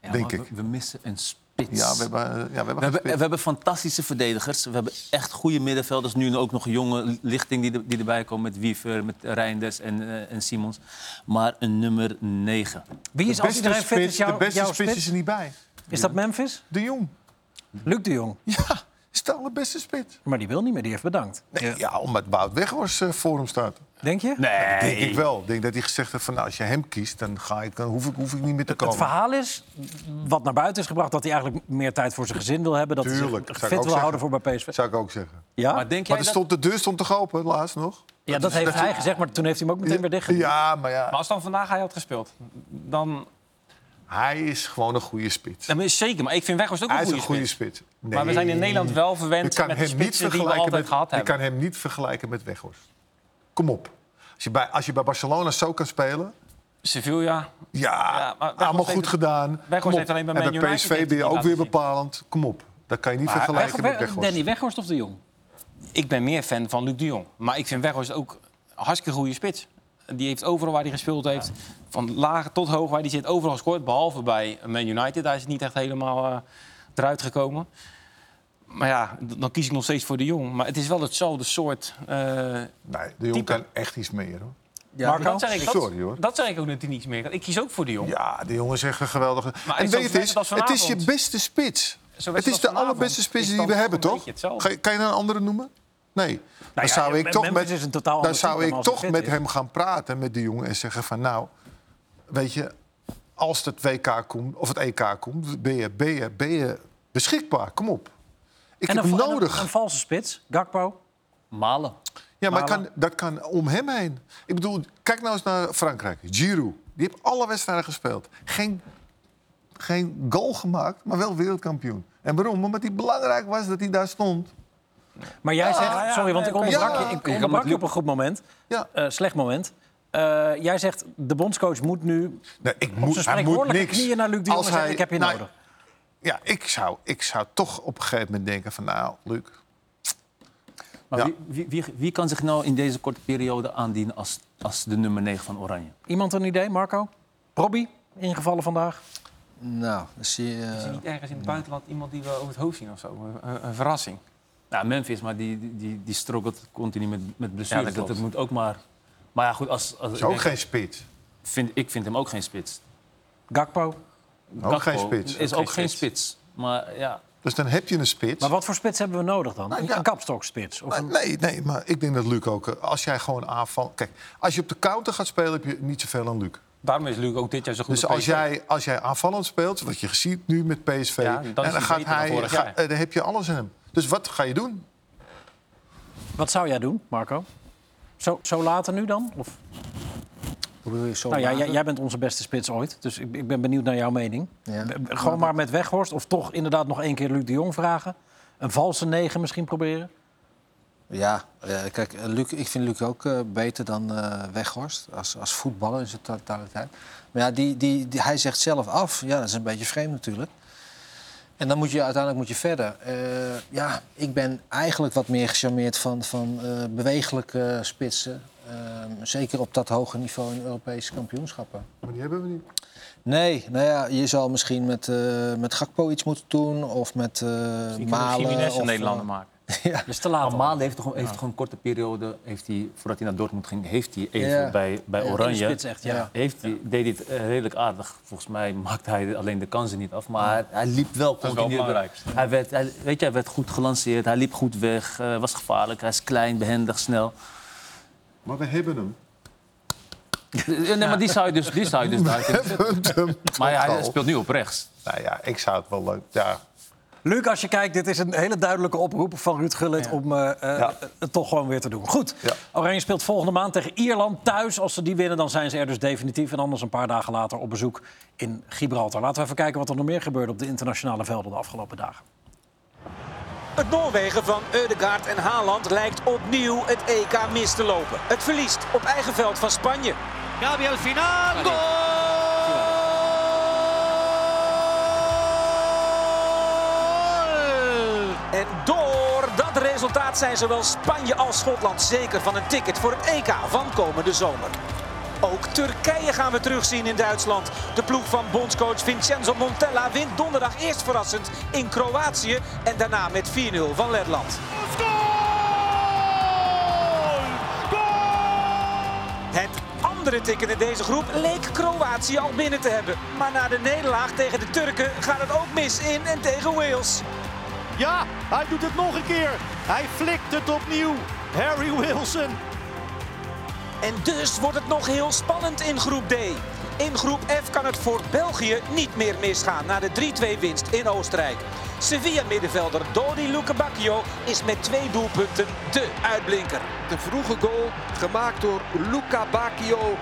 C: Ja,
F: denk
C: maar
F: ik.
C: We, we missen een spits.
F: Ja, we hebben, eh, ja,
C: We
F: we hebben,
C: hebben, we
F: gespeeld.
C: hebben fantastische verdedigers. We hebben echt goede middenvelders. Nu ook nog een jonge lichting die, er- die erbij komen. Met Wiever, met Reinders en, eh, en Simons. Maar een nummer 9.
A: Wie is
F: de
A: als
F: beste,
A: iedereen fit
F: spits,
A: is jouw,
F: de beste
A: jouw
F: spits is er niet bij.
A: Is dat Memphis?
F: De Jong.
A: Luc de Jong.
F: Ja, is de allerbeste spits.
A: Maar die wil niet meer, die heeft bedankt.
F: Nee, ja. omdat Wout Weghorst eh, voor hem staat.
A: Denk je?
C: Nee.
F: Denk ik wel. Ik denk dat hij gezegd heeft van nou, als je hem kiest, dan, ga ik, dan hoef, ik, hoef ik niet meer te
A: Het
F: komen.
A: verhaal is, wat naar buiten is gebracht, dat hij eigenlijk meer tijd voor zijn gezin wil hebben. Dat
F: Tuurlijk,
A: hij
F: dat zou ik
A: zich
F: ook
A: fit wil
F: zeggen.
A: houden voor bij PSV.
F: Zou ik ook zeggen.
A: Ja,
C: Maar denk jij
F: Maar
C: dat...
F: er stond, de deur stond toch open, laatst nog?
A: ja dat heeft hij gezegd, maar toen heeft hij hem ook meteen weer dicht.
F: Ja, maar
E: Maar
F: ja,
E: als dan vandaag hij had gespeeld, dan...
F: hij is gewoon een goede spits.
E: Ja, maar zeker, maar ik vind Weghorst ook een
F: Hij is
E: goede
F: een goede
E: spits.
F: spits.
E: Maar we
F: Nee.
E: zijn in Nederland wel
F: Je
E: verwend
F: kan
E: met de
F: hem niet
E: spitsen die we
F: vergelijken
E: altijd
F: met,
E: gehad
F: Je
E: hebben.
F: kan hem niet vergelijken met Weghorst. Kom op. Als je bij, als je bij Barcelona zo kan spelen.
E: Sevilla,
F: Ja,
E: Ja, maar Weghorst
F: allemaal
E: heeft
F: goed
E: het-
F: gedaan.
E: Weghorst
F: Kom op.
E: heeft alleen bij Man
F: en bij
E: United heeft
F: PSV ben
E: het
F: je
E: niet
F: ook
E: laten
F: weer
E: zien.
F: bepalend. Kom op. Dat kan je niet vergelijken met
A: Weg,
F: Weghorst.
A: Danny Weghorst of de Jong?
E: ik ben meer fan van Luc de Jong. Maar ik vind Weghorst ook een hartstikke goede spits. Die heeft overal waar hij gespeeld heeft, van laag tot hoog waar hij zit, overal gescoord. Behalve bij Man United, daar is het niet echt helemaal eh, eruit gekomen. Maar ja, d- dan kies ik nog steeds voor de Jong. Maar het is wel hetzelfde soort... eh,
F: Nee, de jongen
E: Type.
F: kan echt iets meer. Hoor.
B: Ja,
E: maar dat zeg ik, dat,
F: Sorry, hoor.
E: dat zeg ik ook natuurlijk niet meer. Ik kies ook voor de Jong.
F: Ja, de jongen is echt een geweldige.
E: Maar
F: en
E: is
F: weet
E: dat
F: je, het
E: net
F: is,
E: als
F: het is je
E: vanavond?
F: beste spits.
E: Zo
F: Het is
E: werd dat
F: de
E: vanavond.
F: allerbeste spits
E: Is
F: die we
E: dan
F: hebben,
E: toch een
F: toch?
E: beetje hetzelfde.
F: Ga je- Kan je een andere noemen? Nee. Dan
A: ja,
F: zou ik
A: Memphis
F: toch
A: is een
F: met,
A: totaal
F: dan
A: ander type
F: zou
A: dan
F: ik
A: als hij
F: toch
A: fit
F: met
A: is.
F: hem gaan praten, met de jongen, en zeggen van nou, weet je, als het WK komt of het EK komt, ben je, ben je, ben je beschikbaar. Kom op. Ik heb
A: een,
F: hem
A: va- en
F: nodig.
A: Een, een valse spits, Gakpo.
C: Malen.
F: Ja, maar kan, dat kan om hem heen. Ik bedoel, kijk nou eens naar Frankrijk. Giroud, die heeft alle wedstrijden gespeeld. Geen, geen goal gemaakt, maar wel wereldkampioen. En waarom? Omdat hij belangrijk was dat hij daar stond.
A: Maar jij zegt, sorry, want ik onderbrak
F: ja,
A: je, ik
F: oké.
A: onderbrak je op een goed moment.
F: Ja.
A: Eh, slecht moment. Eh, jij zegt, de bondscoach moet nu
F: Nee, ik
A: op zijn
F: moet, hij moet
A: spreekwoordelijke
F: niks.
A: knieën naar Luc de Jong
F: Als
A: en zeggen, ik
F: hij-
A: heb je
F: nou,
A: nodig.
F: Ja, ik zou, ik zou toch op een gegeven moment denken van... nou, Luc,
C: Maar
F: Ja.
C: wie, wie, wie, wie kan zich nou in deze korte periode aandienen als, als de nummer 9 van Oranje?
A: Iemand een idee, Marco? Robby, ingevallen vandaag.
B: Nou, dan zie je...
E: Is
B: eh,
E: er niet ergens in het buitenland iemand die we over het hoofd zien of zo? Een- Een, een verrassing.
C: Nou, Memphis, maar die, die, die, die struggelt continu met, met blessures.
E: Ja, dat
C: dat,
E: klopt.
C: moet ook maar... Maar ja, goed, als, als,
F: is
C: ik,
F: ook
C: denk-
F: geen spits.
C: vind, ik vind hem ook geen spits.
A: Gakpo.
F: Ook
C: Gakpo
F: geen spits.
C: Is ook geen spits. Maar ja,
F: Dus dan heb je een spits.
A: Maar wat voor spits hebben we nodig dan?
F: Nou,
A: Een-
F: ja.
A: Een kapstokspits? Of
F: Maar
A: een...
F: nee, nee, maar ik denk dat Luc ook... eh, Als jij gewoon aanval... Kijk, als je op de counter gaat spelen, heb je niet zoveel aan Luc.
E: Daarom is Luc ook dit jaar zo goed
F: Dus
E: op
F: als
E: PSV.
F: jij, als jij aanvallend speelt, wat je ziet nu met PSV,
E: Ja, dan is
F: en
E: hij
F: dan, gaat
E: beter dan
F: hij,
E: vorig
F: ga-
E: jaar.
F: eh, dan heb je alles in hem. Dus wat ga je doen?
A: Wat zou jij doen, Marco? Zo, zo later nu dan? Of...
B: Hoe bedoel je zo?
A: Nou ja, jij,
B: lager?
A: jij bent onze beste spits ooit, dus ik, ik ben benieuwd naar jouw mening.
B: Ja.
A: B- b- Gewoon maar met Weghorst of toch inderdaad nog één keer Luc de Jong vragen. Een valse negen misschien proberen.
B: Ja, eh, kijk, eh, Luc, ik vind Luc ook eh, beter dan eh, Weghorst. Als, als voetballer in zijn totaliteit. Maar ja, die, die, die, hij zegt zelf af. Ja, dat is een beetje vreemd natuurlijk. En dan moet je uiteindelijk moet je verder. Eh, ja, ik ben eigenlijk wat meer gecharmeerd van, van eh, bewegelijke spitsen. Ehm, zeker op dat hoge niveau in Europese kampioenschappen.
F: Maar die hebben we niet.
B: Nee, nou ja, je zal misschien met, eh, met Gakpo iets moeten doen. Of met eh
E: Die kunnen
B: Malen.
E: Jiménez
B: of,
E: een Nederlander
B: eh,
E: maken.
B: ja.
A: Dus te laat.
C: Maar Malen heeft toch gewoon- heeft toch een korte periode, heeft hij, voordat hij naar Dortmund ging, heeft hij even
B: Ja.
C: bij, bij
B: Ja,
A: in de
C: Oranje.
A: spits echt, ja.
B: Ja.
C: Heeft hij, deed hij het eh, redelijk aardig. Volgens mij maakte hij alleen de kansen niet af. Maar hij, hij liep wel
E: wel
C: continu.
E: het belangrijkste.
C: hij, werd, hij, weet je, hij werd goed gelanceerd, hij liep goed weg, eh, was gevaarlijk, hij is klein, behendig, snel.
F: Maar we hebben hem.
C: Eh, nee, maar die zou je dus, die zou je dus daar kunnen zetten. Maar ja, hij
F: Totaal.
C: speelt nu op rechts.
F: Nou ja, ik zou het wel leuk. Ja,
A: Luc, als je kijkt, dit is een hele duidelijke oproep van Ruud Gullit om eh, eh,
F: Ja.
A: het toch gewoon weer te doen. Goed,
F: Ja.
A: Oranje speelt volgende maand tegen Ierland thuis. Als ze die winnen, dan zijn ze er dus definitief. En anders een paar dagen later op bezoek in Gibraltar. Laten we even kijken wat er nog meer gebeurde op de internationale velden de afgelopen dagen.
H: Het Noorwegen van Eudegaard en Haaland lijkt opnieuw het EK mis te lopen. Het verliest op eigen veld van Spanje.
I: Gabriel Final, gol!
H: En door dat resultaat zijn zowel Spanje als Schotland zeker van een ticket voor het EK van komende zomer. Ook Turkije gaan we terugzien in Duitsland. De ploeg van bondscoach Vincenzo Montella wint donderdag eerst verrassend in Kroatië en daarna met 4-0 van Letland. Het andere ticket in deze groep leek Kroatië al binnen te hebben. Maar na de nederlaag tegen de Turken gaat het ook mis in en tegen Wales.
I: Ja, hij doet het nog een keer. Hij flikt het opnieuw. Harry Wilson.
H: En dus wordt het nog heel spannend in groep D. In groep F kan het voor België niet meer misgaan na de 3-2 winst in Oostenrijk. Sevilla-middenvelder Dodi Lukebakio is met twee doelpunten de uitblinker.
J: De vroege goal gemaakt door Luca Bacchio.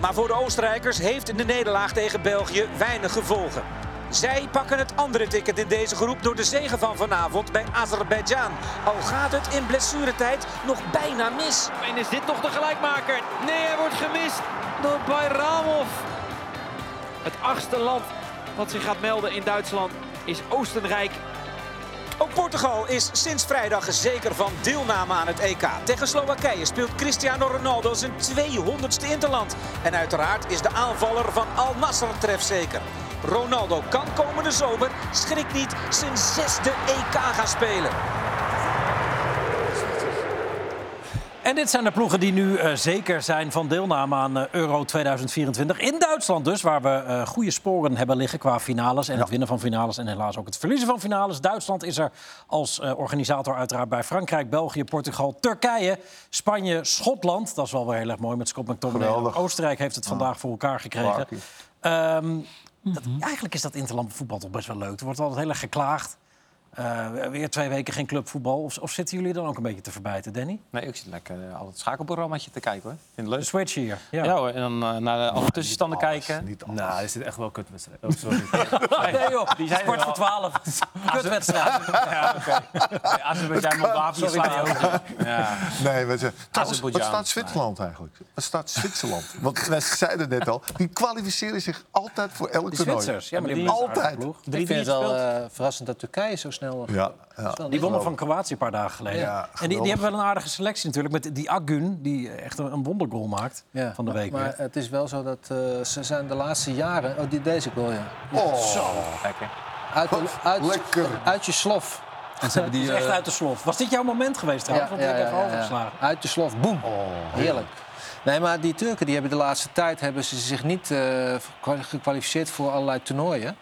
H: Maar voor de Oostenrijkers heeft de nederlaag tegen België weinig gevolgen. Zij pakken het andere ticket in deze groep door de zege van vanavond bij Azerbeidzjan. Al gaat het in blessuretijd nog bijna mis.
K: En is dit nog de gelijkmaker? Nee, hij wordt gemist door Bayramov. Het achtste land wat zich gaat melden in Duitsland is Oostenrijk.
H: Ook Portugal is sinds vrijdag zeker van deelname aan het EK. Tegen Slowakije speelt Cristiano Ronaldo zijn 200ste interland. En uiteraard is de aanvaller van Al Nassr trefzeker. Ronaldo kan komende zomer, schrik niet, zijn zesde EK gaan spelen.
A: En dit zijn de ploegen die nu eh, zeker zijn van deelname aan eh, Euro 2024. In Duitsland dus, waar we eh, goede sporen hebben liggen qua finales. En het winnen van finales en helaas ook het verliezen van finales. Duitsland is er als eh, organisator uiteraard bij Frankrijk, België, Portugal, Turkije, Spanje, Schotland. Dat is wel weer heel erg mooi met Scott McTominay.
F: Geweldig.
A: Oostenrijk heeft het vandaag voor elkaar gekregen.
F: Barkie.
A: Ehm, dat, eigenlijk is dat interland voetbal toch best wel leuk. Er wordt altijd heel erg geklaagd. Eh, weer twee weken geen clubvoetbal. Of, of zitten jullie dan ook een beetje te verbijten, Danny?
E: Nee, ik zit lekker eh, al het schakelprogrammaatje te kijken hoor. Vind het
A: De
E: leuk.
A: switch hier.
E: Ja, hoor, en dan eh, naar de alle tussenstanden kijken.
F: Niet
C: Nou,
F: anders.
C: er zit echt wel een kutwedstrijd. Oh, sorry.
A: Nee joh,
C: Die zijn er
A: kwart voor
C: wel.
A: twaalf. Kutwedstrijd.
C: ja, oké. Nee, Azerbeidzjan, Moldavië sla je over. Ja.
F: Nee, maar ze, trouwens, wat
E: Azerbeidzjan.
F: staat Zwitserland eigenlijk? Wat staat Zwitserland? Want wij zeiden net al, die kwalificeren zich altijd voor elk
A: Die
F: toernooi.
A: Zwitsers. Ja, maar die,
F: Altijd.
B: Ik vind het wel eh, verrassend dat Turkije zo snel... eh,
F: Ja, ja.
A: die wonnen van Kroatië een paar dagen geleden.
F: Ja,
A: en die,
F: geweldig.
A: die hebben wel een aardige selectie natuurlijk. Met die Agun, die echt een, een wondergoal maakt
B: Ja,
A: van de week.
B: Maar
A: weer.
B: het is wel zo dat eh, ze zijn de laatste jaren... Oh, die, deze ik wel, ja.
E: Lekker.
B: Uit, uit,
F: lekker.
B: uit je slof.
J: En ze hebben die,
A: Het is echt
J: eh,
A: uit de slof. Was dit jouw moment geweest trouwens? Want ik heb even overgeslagen.
B: Uit de slof, boem. Oh, Heerlijk. Nee, maar die Turken die hebben de laatste tijd hebben ze zich niet eh, kwa- gekwalificeerd voor allerlei toernooien.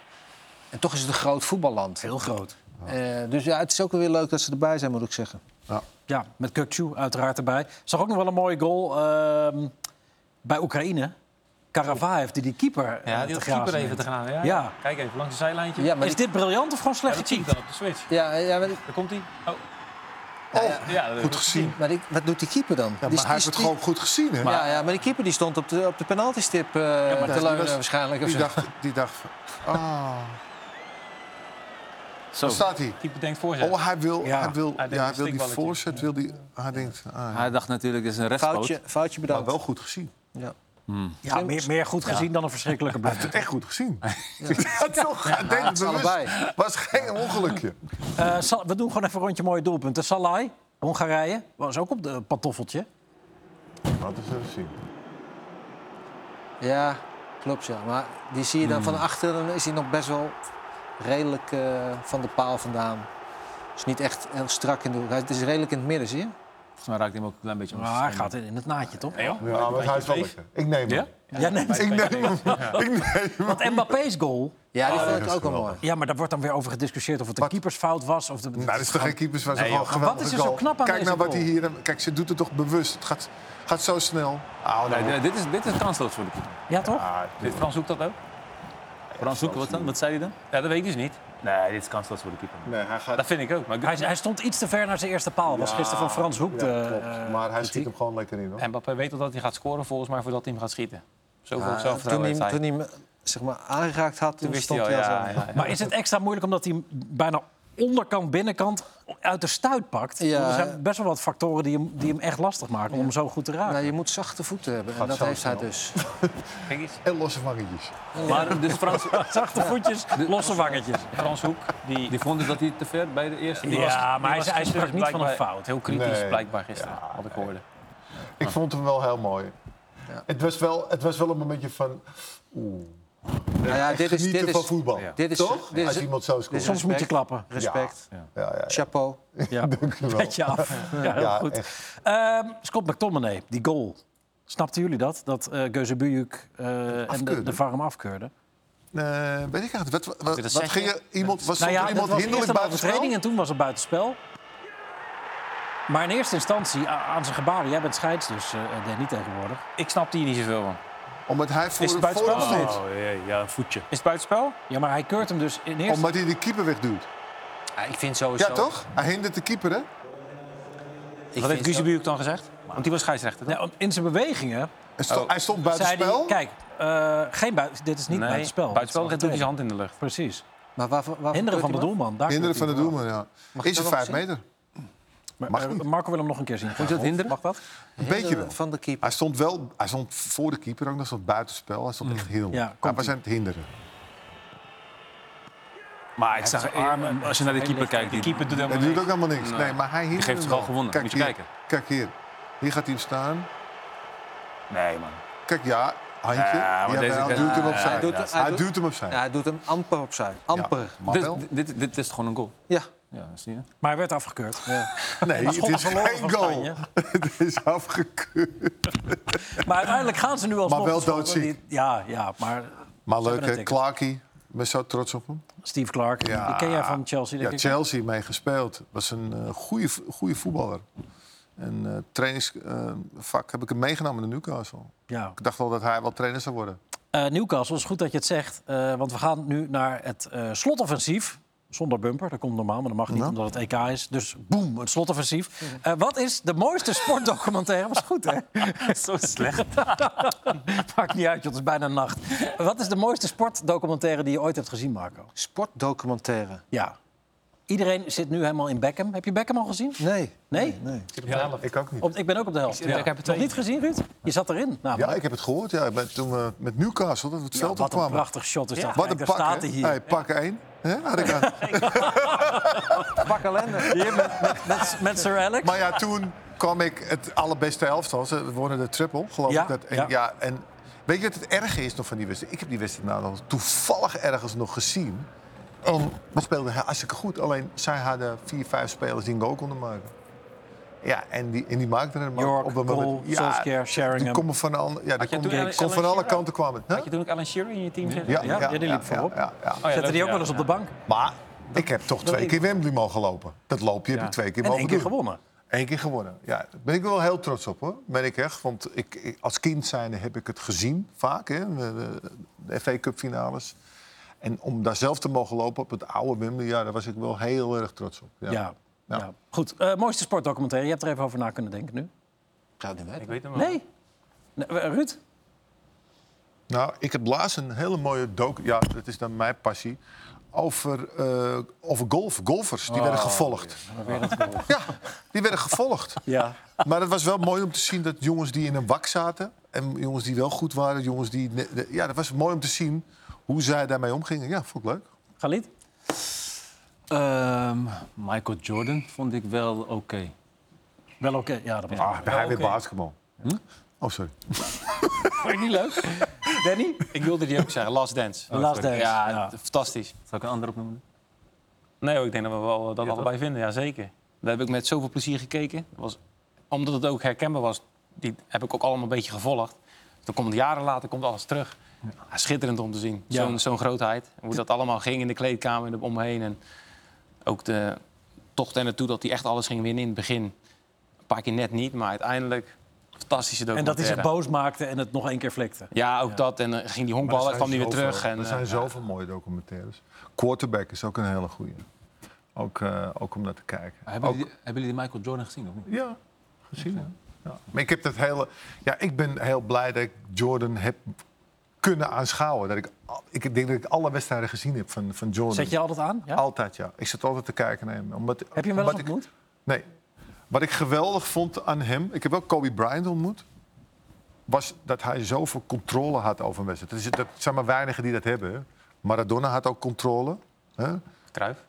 B: En toch is het een groot voetballand.
A: Heel groot.
B: Eh, dus ja, het is ook weer leuk dat ze erbij zijn, moet ik zeggen.
A: Ja, met Kukçu uiteraard erbij. Zag ook nog wel een mooie goal ehm, bij Oekraïne. Karavaev, die die keeper eh, te
E: Ja, die had de keeper
A: grazen
E: even
A: neemt.
E: te gaan. Ja.
A: Ja.
E: Kijk even, langs een zijlijntje.
B: Ja, maar
A: Is
B: die-
A: dit briljant of gewoon
E: Ja,
A: slecht
E: dat zie ik
A: gekiept?
E: dan op de switch.
B: ja, ja, maar,
E: Daar komt hij. Oh,
F: Oh,
E: ja, dat-
F: goed gezien.
B: maar die- wat doet die keeper dan?
F: Ja,
B: Die-
F: maar hij heeft
B: die-
F: het gewoon goed gezien, hè?
B: ja, ja, maar die keeper die stond op de, op de penaltystip eh te
F: die
B: leunen
F: was-
B: waarschijnlijk. Of
F: Die
B: zo.
F: dacht, die dacht van, ah. Zo. staat hij?
E: keeper denkt voorzet.
F: Oh, hij wil,
A: Ja.
F: hij wil,
E: Hij denkt
F: ja, hij
E: een
F: wil die
E: steekballetje.
F: voorzet. Wil die, hij denkt, ah, ja.
C: Hij dacht natuurlijk, dit is een rechtspoot.
B: Foutje, foutje
F: maar
B: bedankt.
F: wel goed gezien.
A: Ja, meer, meer goed gezien dan een verschrikkelijke
F: Hij heeft
A: blunder.
F: het echt goed gezien. Ja, toch? Hij deed het
B: het is
F: bewust.
B: allebei.
F: was geen ongelukje.
A: Eh, Sal- we doen gewoon even een rondje mooie doelpunten. Salai, Hongarije, was ook op de pantoffeltje.
F: Wat is er zien?
B: Ja, klopt ja. Maar die zie je dan van achter, dan is hij nog best wel redelijk eh, van de paal vandaan. Dus niet echt heel strak in de hoek. Hij- Het is redelijk in het midden, zie je?
C: Volgens mij raakt hij hem ook een klein beetje om
A: Maar hij gaat in in het naadje, toch?
F: Ja, maar hij is wel lekker. Ik neem hem.
A: Ja, nee,
F: Ik neem hem. Ik neem hem.
A: want Mbappé's goal...
B: Ja, die vond
F: Oh, dat
B: ik
F: is
B: ook wel mooi.
F: geweldig.
A: Ja, maar daar wordt dan weer over gediscussieerd of het de keepersfout was. Of de,
F: Nou, dat is toch geen keepers, was
C: Nee,
F: gewoon
A: joh. Maar wat
F: geweldig.
A: is er zo knap aan
F: Kijk
A: deze
F: nou wat hij
A: goal?
F: hier... Kijk, ze doet het toch bewust. Het gaat, gaat zo snel. Oh,
C: Nee, nee, Eh, dit, is, dit is kansloos voor de keeper.
A: Ja, toch?
C: Dit Frans zoekt dat ook? Frans zoekt wat dan? Wat zei hij dan?
E: Ja, dat weet ik dus niet.
C: Nee, dit is kansloos voor de keeper.
F: Nee, hij gaat...
E: Dat vind ik ook. Maar
A: Hij, hij stond iets te ver naar zijn eerste paal. was gisteren van Frans Hoek. de, eh,
F: maar hij stiet hem gewoon lekker in, hoor.
E: Mbappé weet al dat hij gaat scoren volgens mij voordat hij hem gaat schieten. Zoveel
B: Ja, toen,
E: zelfvertrouwen
B: hij,
E: heeft hij.
B: toen hij me zeg maar, aangeraakt had, toen,
E: Toen wist hij
B: stond hij
E: al,
B: al zo.
E: ja, ja, ja.
A: Maar is het extra moeilijk omdat hij hem bijna onderkant, binnenkant uit de stuit pakt?
B: Ja.
A: Want Er zijn best wel wat factoren die hem, die hem echt lastig maken om hem zo goed te raken.
B: Nou, je moet zachte voeten hebben en
F: Gaat
B: dat
F: zo
B: heeft hij
F: snel.
B: dus.
E: Kijk eens.
F: En losse wangetjes.
C: Maar dus Frans,
A: Zachte voetjes, losse wangetjes.
E: Frans Hoek, die,
C: die vonden dat hij te ver bij de eerste...
E: die
A: Ja,
E: was- die
A: maar hij-
E: was
A: hij
E: gisteren
A: sprak niet van een
E: blijkbaar
A: fout.
E: Heel kritisch
F: Nee.
E: blijkbaar gisteren, had ik hoorde.
F: Ik vond hem wel heel mooi. Het, was wel, het was wel een momentje van... Oeh.
B: Nou ja,
F: Echt
B: dit is,
F: genieten
B: dit
F: van
B: is,
F: voetbal.
B: dit is,
F: Toch?
B: dit
F: Als
B: is,
F: iemand zo scoort.
A: Soms moet je klappen.
B: respect.
F: Ja, ja, ja.
B: Chapeau.
A: Ja,
F: Dank je wel.
A: petje af. Ja, heel
F: Ja,
A: goed.
F: echt.
A: Ehm, Scott McTominay, die goal. Snapten jullie dat? Dat eh Geuze Bujuk eh, en de,
F: Afkeurde.
A: de VAR hem afkeurde?
F: Eh, weet ik eigenlijk. Wat, wat, wat,
E: dat zeg
F: ging
E: je?
F: er iemand, was
A: Nou
F: stond
A: ja,
F: er
A: dat
F: iemand
A: was eerst
F: hinderlijk
A: een
F: buitenspel?
A: overtreding en toen was het buitenspel. Maar in eerste instantie a- aan zijn gebaren. Jij bent scheids, dus eh Danny tegenwoordig.
E: Ik snapte hier niet zoveel van.
F: Omdat hij voor
E: Is het
F: voor-
E: buitenspel?
F: voor-
C: Oh, jee, ja, een voetje.
E: Is het buitenspel?
A: Ja, maar hij keurt hem dus in eerste
F: Omdat hij de keeper wegduwt.
B: Ja, ik vind sowieso...
F: Ja, toch? Hij hindert de keeper, hè?
B: Ik
E: Wat heeft
B: vind zo-
E: Guzebujuk dan gezegd? Want die was scheidsrechter. toch?
A: Ja, Nou, in zijn bewegingen
F: Hij stond, hij stond
A: zei hij...
F: buitenspel.
A: Kijk, eh, geen bui- dit is niet
E: nee,
A: buitenspel.
E: Buitenspel
A: Dit
E: doet
A: is
E: hij zijn
A: overtreden.
E: hand in de lucht.
A: Precies.
B: Maar waarvoor, waarvoor
A: Hinderen
B: keurt
A: van de
B: hij hem
A: doelman. Daar
F: Hinderen van
A: keurt
F: de
A: hij hem
F: doelman, ja.
B: Mag ik
F: Is
B: dat
F: het
B: nog
F: vijf
B: zien?
F: meter?
A: af. Maar, eh, Marco wil hem nog een keer zien. Moet
E: dat hinderen?
A: Mag dat?
F: Een
B: af?
F: beetje wel.
B: Hinderen Van de keeper.
F: Hij stond wel hij stond voor de keeper ook, dat stond buitenspel. Hij stond echt heel
A: Ja,
F: ja,
A: komt-ie.
F: Wij zijn het hinderen.
C: Maar ik zag,
A: armen-
C: als je naar die keeper kijkt, die,
E: keeper doet
F: Hij
E: helemaal
F: doet
E: niks.
F: ook helemaal niks. Nee, maar hij hindert
C: geeft
F: hem
C: zich al
F: wel.
C: gewonnen.
F: Kijk
C: Moet je
F: hier.
C: kijken.
F: Kijk hier. Hier gaat hij hem staan.
C: Nee, man.
F: Kijk, ja, handje.
C: Ja, maar
F: Ja,
C: deze-
F: hij duwt hem
C: Ja,
F: opzij.
C: hij
B: doet- hij
F: hij
B: doet-
F: duwt hem opzij.
B: Ja, hij doet hem amper opzij. Amper.
F: Maar wel.
E: Dit, dit, dit is gewoon een goal.
B: Ja.
E: Ja, zie je.
A: Maar hij werd afgekeurd.
F: Nee, het
A: Schotland
F: is
A: verloren
F: geen
A: van
F: goal.
A: Spanje.
F: Het is afgekeurd.
A: Maar uiteindelijk gaan ze nu alsnog.
F: Maar wel
A: de Schotten
F: doodziek.
A: die- Ja, ja, maar
F: Maar leuk,
A: hebben een
F: hè?
A: ticket.
F: Clarkie. Ik ben zo trots op hem.
A: Steve Clark,
F: Ja.
A: die ken jij van Chelsea, denk
F: Ja,
A: ik.
F: Chelsea mee gespeeld. Was een eh goede, goede voetballer. En eh trainingsvak heb ik hem meegenomen naar Newcastle.
A: Ja.
F: Ik dacht al dat hij wel trainer zou worden.
A: Eh, Newcastle, is goed dat je het zegt. eh, want we gaan nu naar het eh, slotoffensief. Zonder bumper, dat komt normaal, maar dat mag niet omdat het EK is. Dus boem, het slotoffensief. Eh, wat is de mooiste sportdocumentaire? Was goed, hè?
C: Zo slecht.
A: Maakt niet uit, joh, het is bijna nacht. Wat is de mooiste sportdocumentaire die je ooit hebt gezien, Marco?
B: Sportdocumentaire.
A: Ja. Iedereen zit nu helemaal in Beckham. Heb je Beckham al gezien?
B: Nee.
A: Nee?
F: Ik ook niet.
A: Op, ik ben ook op de helft. Ja.
E: ik heb het
A: Nog
E: ook.
A: niet gezien, Ruud? Je zat erin. Nou,
F: Ja, ik heb het gehoord. Ja, bij- toen we met Newcastle dat we het
A: wat
F: veld
A: een
F: opkwamen.
A: prachtig shot is dat.
F: Wat een
A: Kijk,
F: pak,
A: daar staat
F: hè?
A: hij hier.
F: Hey, pak één. Hè, had ik aan.
A: Hier met, met, met, met Sir Alex.
F: Maar ja, toen kwam ik het allerbeste elftal. Ze wonnen de triple, geloof
A: Ja,
F: ik. Dat. En,
A: ja.
F: ja. en weet je wat het erge is nog van die wedstrijd? Ik heb die wedstrijd nou nog toevallig ergens nog gezien. En we speelden hartstikke goed. Alleen zij hadden vier, vijf spelers die een goal konden maken. Ja, en die, en die maakten er maar
A: York, Cole, Solskjaer,
F: Die
A: Sheringham.
E: Oh
F: komen van alle, ja, die
E: jij
F: komen-
E: toen Alex-
F: kon van
E: Alex
F: alle kanten kwamen. Huh?
E: Had je toen ook Alan Shearer in je team zitten?
A: Ja, die liep voorop.
F: ja, ja.
E: Oh ja,
A: Zette
E: dat-
A: die ook
E: ja,
A: wel eens op de
E: ja.
A: bank.
F: Maar ik heb toch twee keer Wembley mogen lopen. Dat loop je heb ik twee keer
A: En
F: mogen
A: één keer
F: doen.
A: gewonnen.
F: Eén keer gewonnen. Ja, daar ben ik wel heel trots op hoor. Ben ik echt. Want ik, ik- als kind zijnde heb ik het gezien vaak. Hè, de, de, de FA Cup finales. En om daar zelf te mogen lopen op het oude Wembley, ja, daar was ik wel heel erg trots op. Ja.
A: Ja. ja.
F: Ja.
A: Goed, Eh, mooiste sportdocumentaire. Je hebt er even over na kunnen denken nu.
B: Ik zou het niet weten.
E: Ik weet hem wel.
A: Nee. Nee, eh, Ruud?
F: Nou, ik heb laatst een hele mooie docu... Ja, dat is dan mijn passie. Over, eh, over golf. Golfers, die werden gevolgd. Ja, die werden gevolgd.
A: Ja.
F: Maar het was wel mooi om te zien dat jongens die in een wak zaten... en jongens die wel goed waren, jongens die... ne- de- Ja, dat was mooi om te zien hoe zij daarmee omgingen. Ja, vond ik leuk.
A: Galit?
C: Ehm, Michael Jordan vond ik wel oké.
A: Wel oké. Ja, dat was
F: Ah, hij weer basketbal. Oh, sorry.
A: Vond je niet leuk. Danny?
E: Ik wilde die ook zeggen, Last Dance.
A: Last Dance.
E: Ja,
A: Ja.
E: fantastisch.
C: Zal ik een ander opnoemen?
E: Nee, hoor, ik denk dat we wel eh, dat
C: Ja,
E: allebei vinden, ja zeker. Daar heb ik met zoveel plezier gekeken. Dat Was, omdat het ook herkenbaar was, die heb ik ook allemaal een beetje gevolgd. Dan komt jaren later komt alles terug. Ja, schitterend om te zien,
A: Ja.
E: zo'n zo'n grootheid. Hoe dat allemaal ging in de kleedkamer en omheen. En ook de tocht er naartoe dat hij echt alles ging winnen in het begin. Een paar keer net niet, maar uiteindelijk fantastische
A: En dat hij
E: documentaire.
A: zich boos maakte en het nog één keer flikte.
E: Ja, ook dat. En eh, ging die honkbal, en kwam die weer terug. En,
F: er zijn
E: eh,
F: zoveel mooie documentaires. Quarterback is ook een hele goeie. Ook, eh, ook om naar te kijken.
C: Hebben,
F: Ook-
C: jullie, hebben jullie die Michael Jordan gezien of niet?
F: Ja, gezien. hè. Ja. Maar ik heb dat hele. Ja, ik ben heel blij dat ik Jordan heb kunnen aanschouwen. Dat ik, al- ik denk dat ik alle wedstrijden gezien heb van, van Jordan.
A: Zet je altijd aan? Ja?
F: Altijd, ja. Ik zit altijd te kijken naar hem. Omdat,
A: Heb je hem wel eens
F: wat ik-
A: ontmoet?
F: Nee. Wat ik geweldig vond aan hem, ik heb ook Kobe Bryant ontmoet, was dat hij zoveel controle had over mensen. Dat, is, dat zijn maar weinigen die dat hebben. hè. Maradona had ook controle. Hè?
E: Cruijff.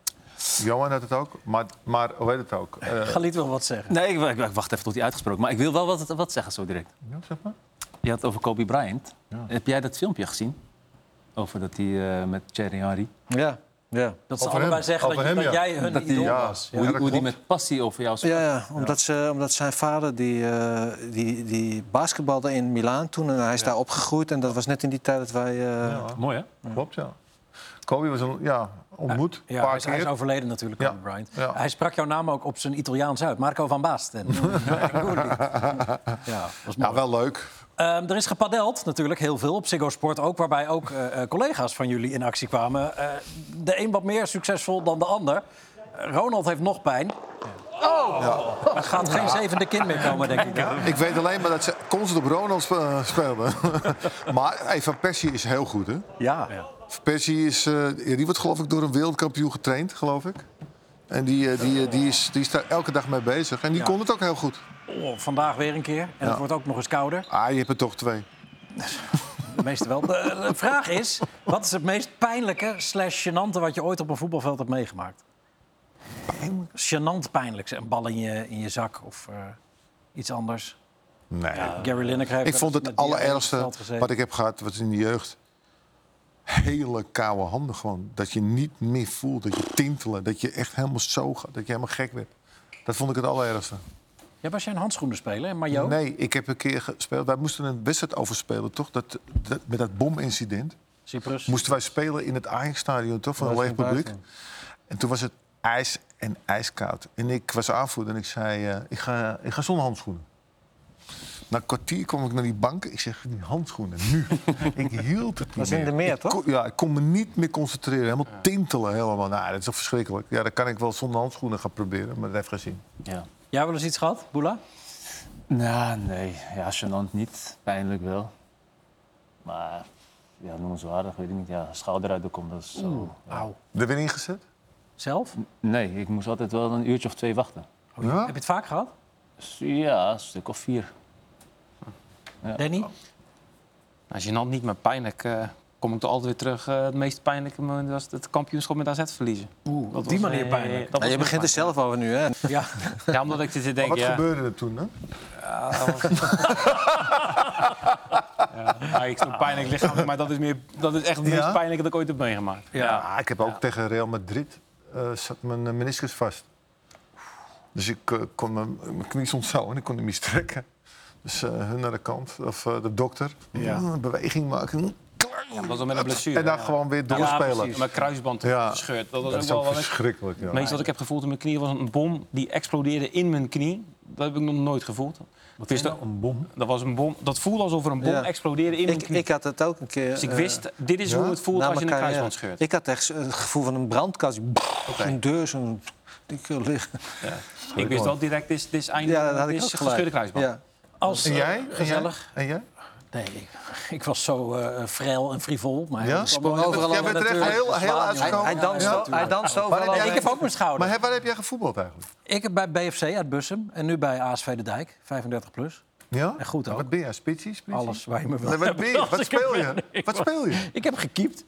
F: Johan had het ook. Maar, maar hoe heet het ook? Eh,
A: Galit wil wat zeggen.
C: Nee, ik, ik- ik wacht even tot hij uitgesproken. Maar ik wil wel wat, wat zeggen zo direct.
F: ja, zeg maar.
C: Je had het over Kobe Bryant. Heb jij dat filmpje gezien? Over dat hij eh, met Thierry Henry...
B: Ja. Ja.
A: Dat ze
F: Over
A: allebei
F: hem.
A: zeggen dat,
F: Over
A: je-
F: hem,
A: dat
F: ja.
A: jij hun
C: Dat die-
A: idool
F: ja.
A: was.
C: hoe
F: dat
C: hoe die
F: klopt.
C: met passie over jou sprak.
B: Ja, ja, omdat, Ze, omdat zijn vader die, eh, die, die basketbalde in Milaan toen en hij is daar opgegroeid. En dat was net in die tijd dat wij... eh,
C: Mooi, hè?
F: Klopt, ja. Kobe was een, ja, ontmoet.
A: Ja, hij
F: paar
A: is, hij is
F: keer.
A: overleden natuurlijk,
F: Ja.
A: Kobe Bryant.
F: Ja.
A: Hij sprak jouw naam ook op zijn Italiaans uit. Marco van Basten. ja, was mooi.
F: Ja, wel leuk.
A: Ehm, er is gepadeld natuurlijk heel veel op Ziggo Sport ook... waarbij ook eh, eh, collega's van jullie in actie kwamen. Eh, de een wat meer succesvol dan de ander. Eh, Ronald heeft nog pijn. Er gaat geen zevende kind meer komen, denk ik. hè?
F: Ik weet alleen maar dat ze constant op Ronald spe- eh, speelden. maar hey, Van Persie is heel goed, hè?
A: Ja.
F: Van Persie is, eh, ja, die wordt geloof ik door een wereldkampioen getraind, geloof ik. En die, eh, die, eh, die, is, die is daar elke dag mee bezig. En die
A: Ja.
F: kon het ook heel goed.
A: Oh, vandaag weer een keer. En het wordt ook nog eens kouder.
F: Ah, je hebt er toch twee.
A: De meeste wel. Eh, De, de vraag is, wat is het meest pijnlijke slash gênante wat je ooit op een voetbalveld hebt meegemaakt? Gênant pijnlijk. Een bal in je, in je zak of eh, iets anders.
F: Nee.
A: Gary Lineker heeft
F: ik vond
A: wel eens met
F: het
A: die op
F: allerergste
A: veld gezeten.
F: wat ik heb gehad, wat in de jeugd. Hele koude handen gewoon. Dat je niet meer voelt, dat je tintelen, dat je echt helemaal zo gaat, dat je helemaal gek werd. Dat vond ik het allerergste.
A: Ja, was jij een handschoenen speler en maillot?
F: Nee, ik heb een keer gespeeld. Wij moesten een wedstrijd overspelen, toch? Dat, dat, met dat bomincident.
A: Cyprus.
F: Moesten wij spelen in het Ajax-stadion, toch? Van een leeg publiek. En toen was het ijs en ijskoud. En ik was aanvoerder en ik zei, eh, ik, ga, ik ga zonder handschoenen. Na een kwartier kwam ik naar die bank. Ik zeg, die handschoenen, nu. ik hield het niet
L: was in de meer,
F: Ik
L: toch?
F: kon- ja, ik kon me niet meer concentreren. Helemaal tintelen, helemaal. Nou, dat is toch verschrikkelijk. Ja, dat kan ik wel zonder handschoenen gaan proberen, maar dat heeft geen zin.
C: Ja.
A: Jij wel eens iets gehad, Boela?
C: Nou, nee. Ja, gênant niet. Pijnlijk wel. Maar ja, noemenswaardig, weet ik niet. Ja, schouder uit de kom, dat is zo.
A: Auw.
F: Er weer ingezet?
A: Zelf?
C: Nee, ik moest altijd wel een uurtje of twee wachten.
A: Heb je het vaak gehad?
C: Dus ja, een stuk of vier.
A: Danny?
E: Als je hand Nou, niet meer pijnlijk, eh, kom ik toch altijd weer terug. eh, het meest pijnlijke moment was het kampioenschap met AZ verliezen.
A: Oeh, op die manier pijnlijk.
E: Dat was
B: je
E: heel
B: begint er
E: pijnlijk.
B: zelf over nu, hè?
A: Ja.
E: Ja, omdat ik zit te denken.
F: Wat
E: ja,
F: gebeurde er toen, hè?
E: ja, Ah, ik zo'n pijnlijk lichaam, maar dat is, meer, dat is echt het
F: Ja?
E: meest pijnlijke dat ik ooit heb meegemaakt.
F: Ja, Ah, ik heb ook tegen Real Madrid eh, zat mijn eh, meniscus vast. Dus ik eh, kon mijn, mijn knie stond zo en ik kon hem niet strekken. Dus eh, hun naar de kant, of eh, de dokter. Mm, beweging maken.
E: Dat was al met een blessure.
F: en dan
E: ja.
F: gewoon weer
E: Ja,
F: doorspelen.
E: precies. Mijn kruisband
F: Ja.
E: gescheurd. Dat was
F: dat
E: ook
F: is
E: wel
F: ook
E: wel een-
F: verschrikkelijk. Ja.
E: Het meeste wat ik heb gevoeld in mijn knie was een bom die explodeerde in mijn knie. Dat heb ik nog nooit gevoeld. Wat wist dat?
C: Een bom.
E: Dat, was een bom, dat voelde alsof er een bom
B: nou? Ja.
E: explodeerde in mijn
B: Ik,
E: knie.
B: ik had het ook een keer.
E: dus ik
B: eh,
E: wist, dit is
F: ja?
E: hoe het voelt
B: na
E: als je een
B: mijn carrière.
E: kruisband scheurt.
B: Ik had echt zo- het gevoel van een brandkast. Een deur, zo'n dikke liggen.
E: Ik wist wel direct, dit is, dit is einde,
B: Ja, dat had ik
E: dit
B: ook
E: is
B: gelijk.
E: gescheurde kruisband.
B: Ja.
A: Als,
F: En
A: eh,
F: jij? En jij?
A: Gezellig.
F: En jij?
A: Nee, ik, ik was zo eh frel en frivol. Maar
F: Ja?
A: dat kwam wel
B: Sprong overal
F: jij
B: aan
F: bent er echt
B: natuurlijk.
F: heel, heel
B: Hij,
F: uitgekomen.
B: hij danst,
F: Ja.
B: ook- hij danst overal
F: heb jij-
A: Ik
B: overheen.
A: heb ook mijn schouder.
F: Maar hè, waar heb jij gevoetbald eigenlijk?
A: Ik heb bij BFC uit Bussum en nu bij ASV De Dijk, 35 plus.
F: Ja?
A: En goed
F: En
A: ook.
F: Wat ben jij? Spitsie? Spitsie?
A: Alles waar je me wil
F: Nee, wat,
A: hebben
F: ben je?
A: als
F: wat
A: ik er
F: speel
A: ben.
F: je?
A: Ik
F: Wat
A: was-
F: speel je?
A: Ik heb gekiept.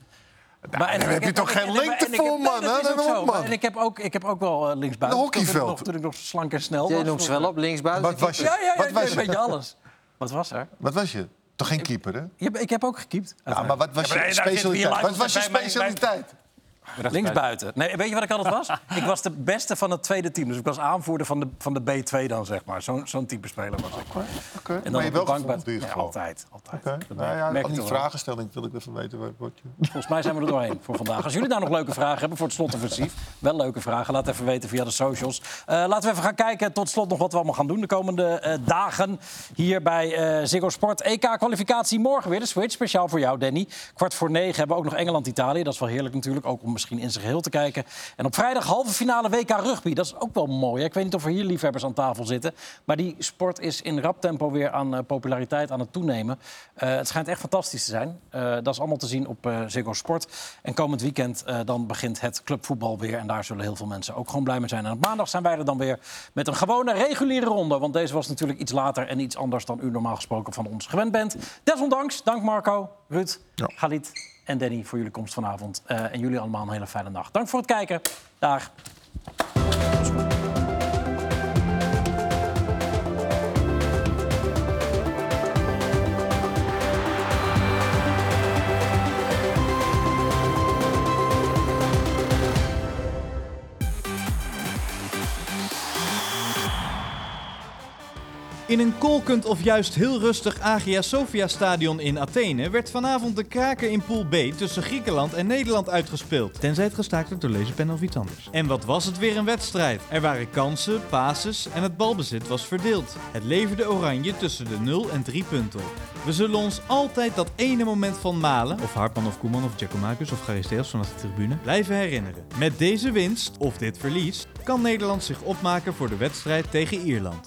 A: Maar en
F: daar
A: ik
F: heb je toch
A: en-
F: geen
A: en- en- en-
F: lengte
A: en- en- en-
F: voor,
A: nee, dat
F: man, hè?
A: is ook
F: Dat
A: zo.
F: ook, man.
A: En ik heb ook, ik heb ook wel eh, linksbuiten.
F: Een
A: Toen ik nog-
F: hockeyveld.
A: Toen ik nog slank en snel
B: Jij
A: was.
B: noemt ze wel op linksbuiten.
F: Wat was
A: Ja, ja,
F: je?
A: ja.
F: Wat
A: ja,
F: was
A: Een beetje
F: je?
A: alles. Wat was er?
F: Wat was je? Toch geen keeper, hè?
A: Je hebt- Ik heb ook gekiept.
F: Ja, maar wat was je specialiteit? Wat was je specialiteit?
A: Linksbuiten. Nee, weet je wat ik altijd was? ik was de beste van het tweede team. Dus ik was aanvoerder van de, van de B2 dan, zeg maar. Zo'n zo'n type speler was ik.
F: Oké,
A: En dan
F: Maar
A: op
F: je
A: de
F: wel
A: bank bij-
F: gevoeld in ieder
A: Ja,
F: geval.
A: altijd, altijd.
F: Oké. Nou ja,
A: merk
F: van die
A: het wel.
F: vragenstelling wil ik even weten. wat- wat je-
A: Volgens mij zijn we er doorheen voor vandaag. Als jullie nou nog leuke vragen hebben voor het slotoffensief... wel leuke vragen, laat even weten via de socials. Eh, laten we even gaan kijken tot slot nog wat we allemaal gaan doen... de komende eh, dagen hier bij eh Ziggo Sport. EK-kwalificatie morgen weer, de switch. Speciaal voor jou, Danny. Kwart voor negen hebben we ook nog Engeland-Italië. Dat is wel heerlijk natuurlijk, ook om misschien in zijn geheel te kijken. En op vrijdag halve finale WK Rugby. Dat is ook wel mooi. hè? Ik weet niet of er hier liefhebbers aan tafel zitten. Maar die sport is in rap tempo weer aan eh, populariteit aan het toenemen. Eh, het schijnt echt fantastisch te zijn. Eh, dat is allemaal te zien op eh Ziggo Sport. En komend weekend eh, dan begint het clubvoetbal weer. En daar zullen heel veel mensen ook gewoon blij mee zijn. En op maandag zijn wij er dan weer met een gewone reguliere ronde. Want deze was natuurlijk iets later en iets anders dan u normaal gesproken van ons gewend bent. Desondanks, dank Marco, Ruud, Galit en Danny voor jullie komst vanavond. Eh, en jullie allemaal een hele fijne nacht. Dank voor het kijken. Dag.
L: In een kolkend of juist heel rustig Agia Sofia stadion in Athene werd vanavond de kraken in Pool B tussen Griekenland en Nederland uitgespeeld. Tenzij het gestaakt werd door laserpen of iets anders. En wat was het weer een wedstrijd? Er waren kansen, pases en het balbezit was verdeeld. Het leverde Oranje tussen de 0 en 3 punten op. We zullen ons altijd dat ene moment van Malen, of Hartman of Koeman of Giacomakis of Garisteos vanaf de tribune, blijven herinneren. Met deze winst, of dit verlies, kan Nederland zich opmaken voor de wedstrijd tegen Ierland.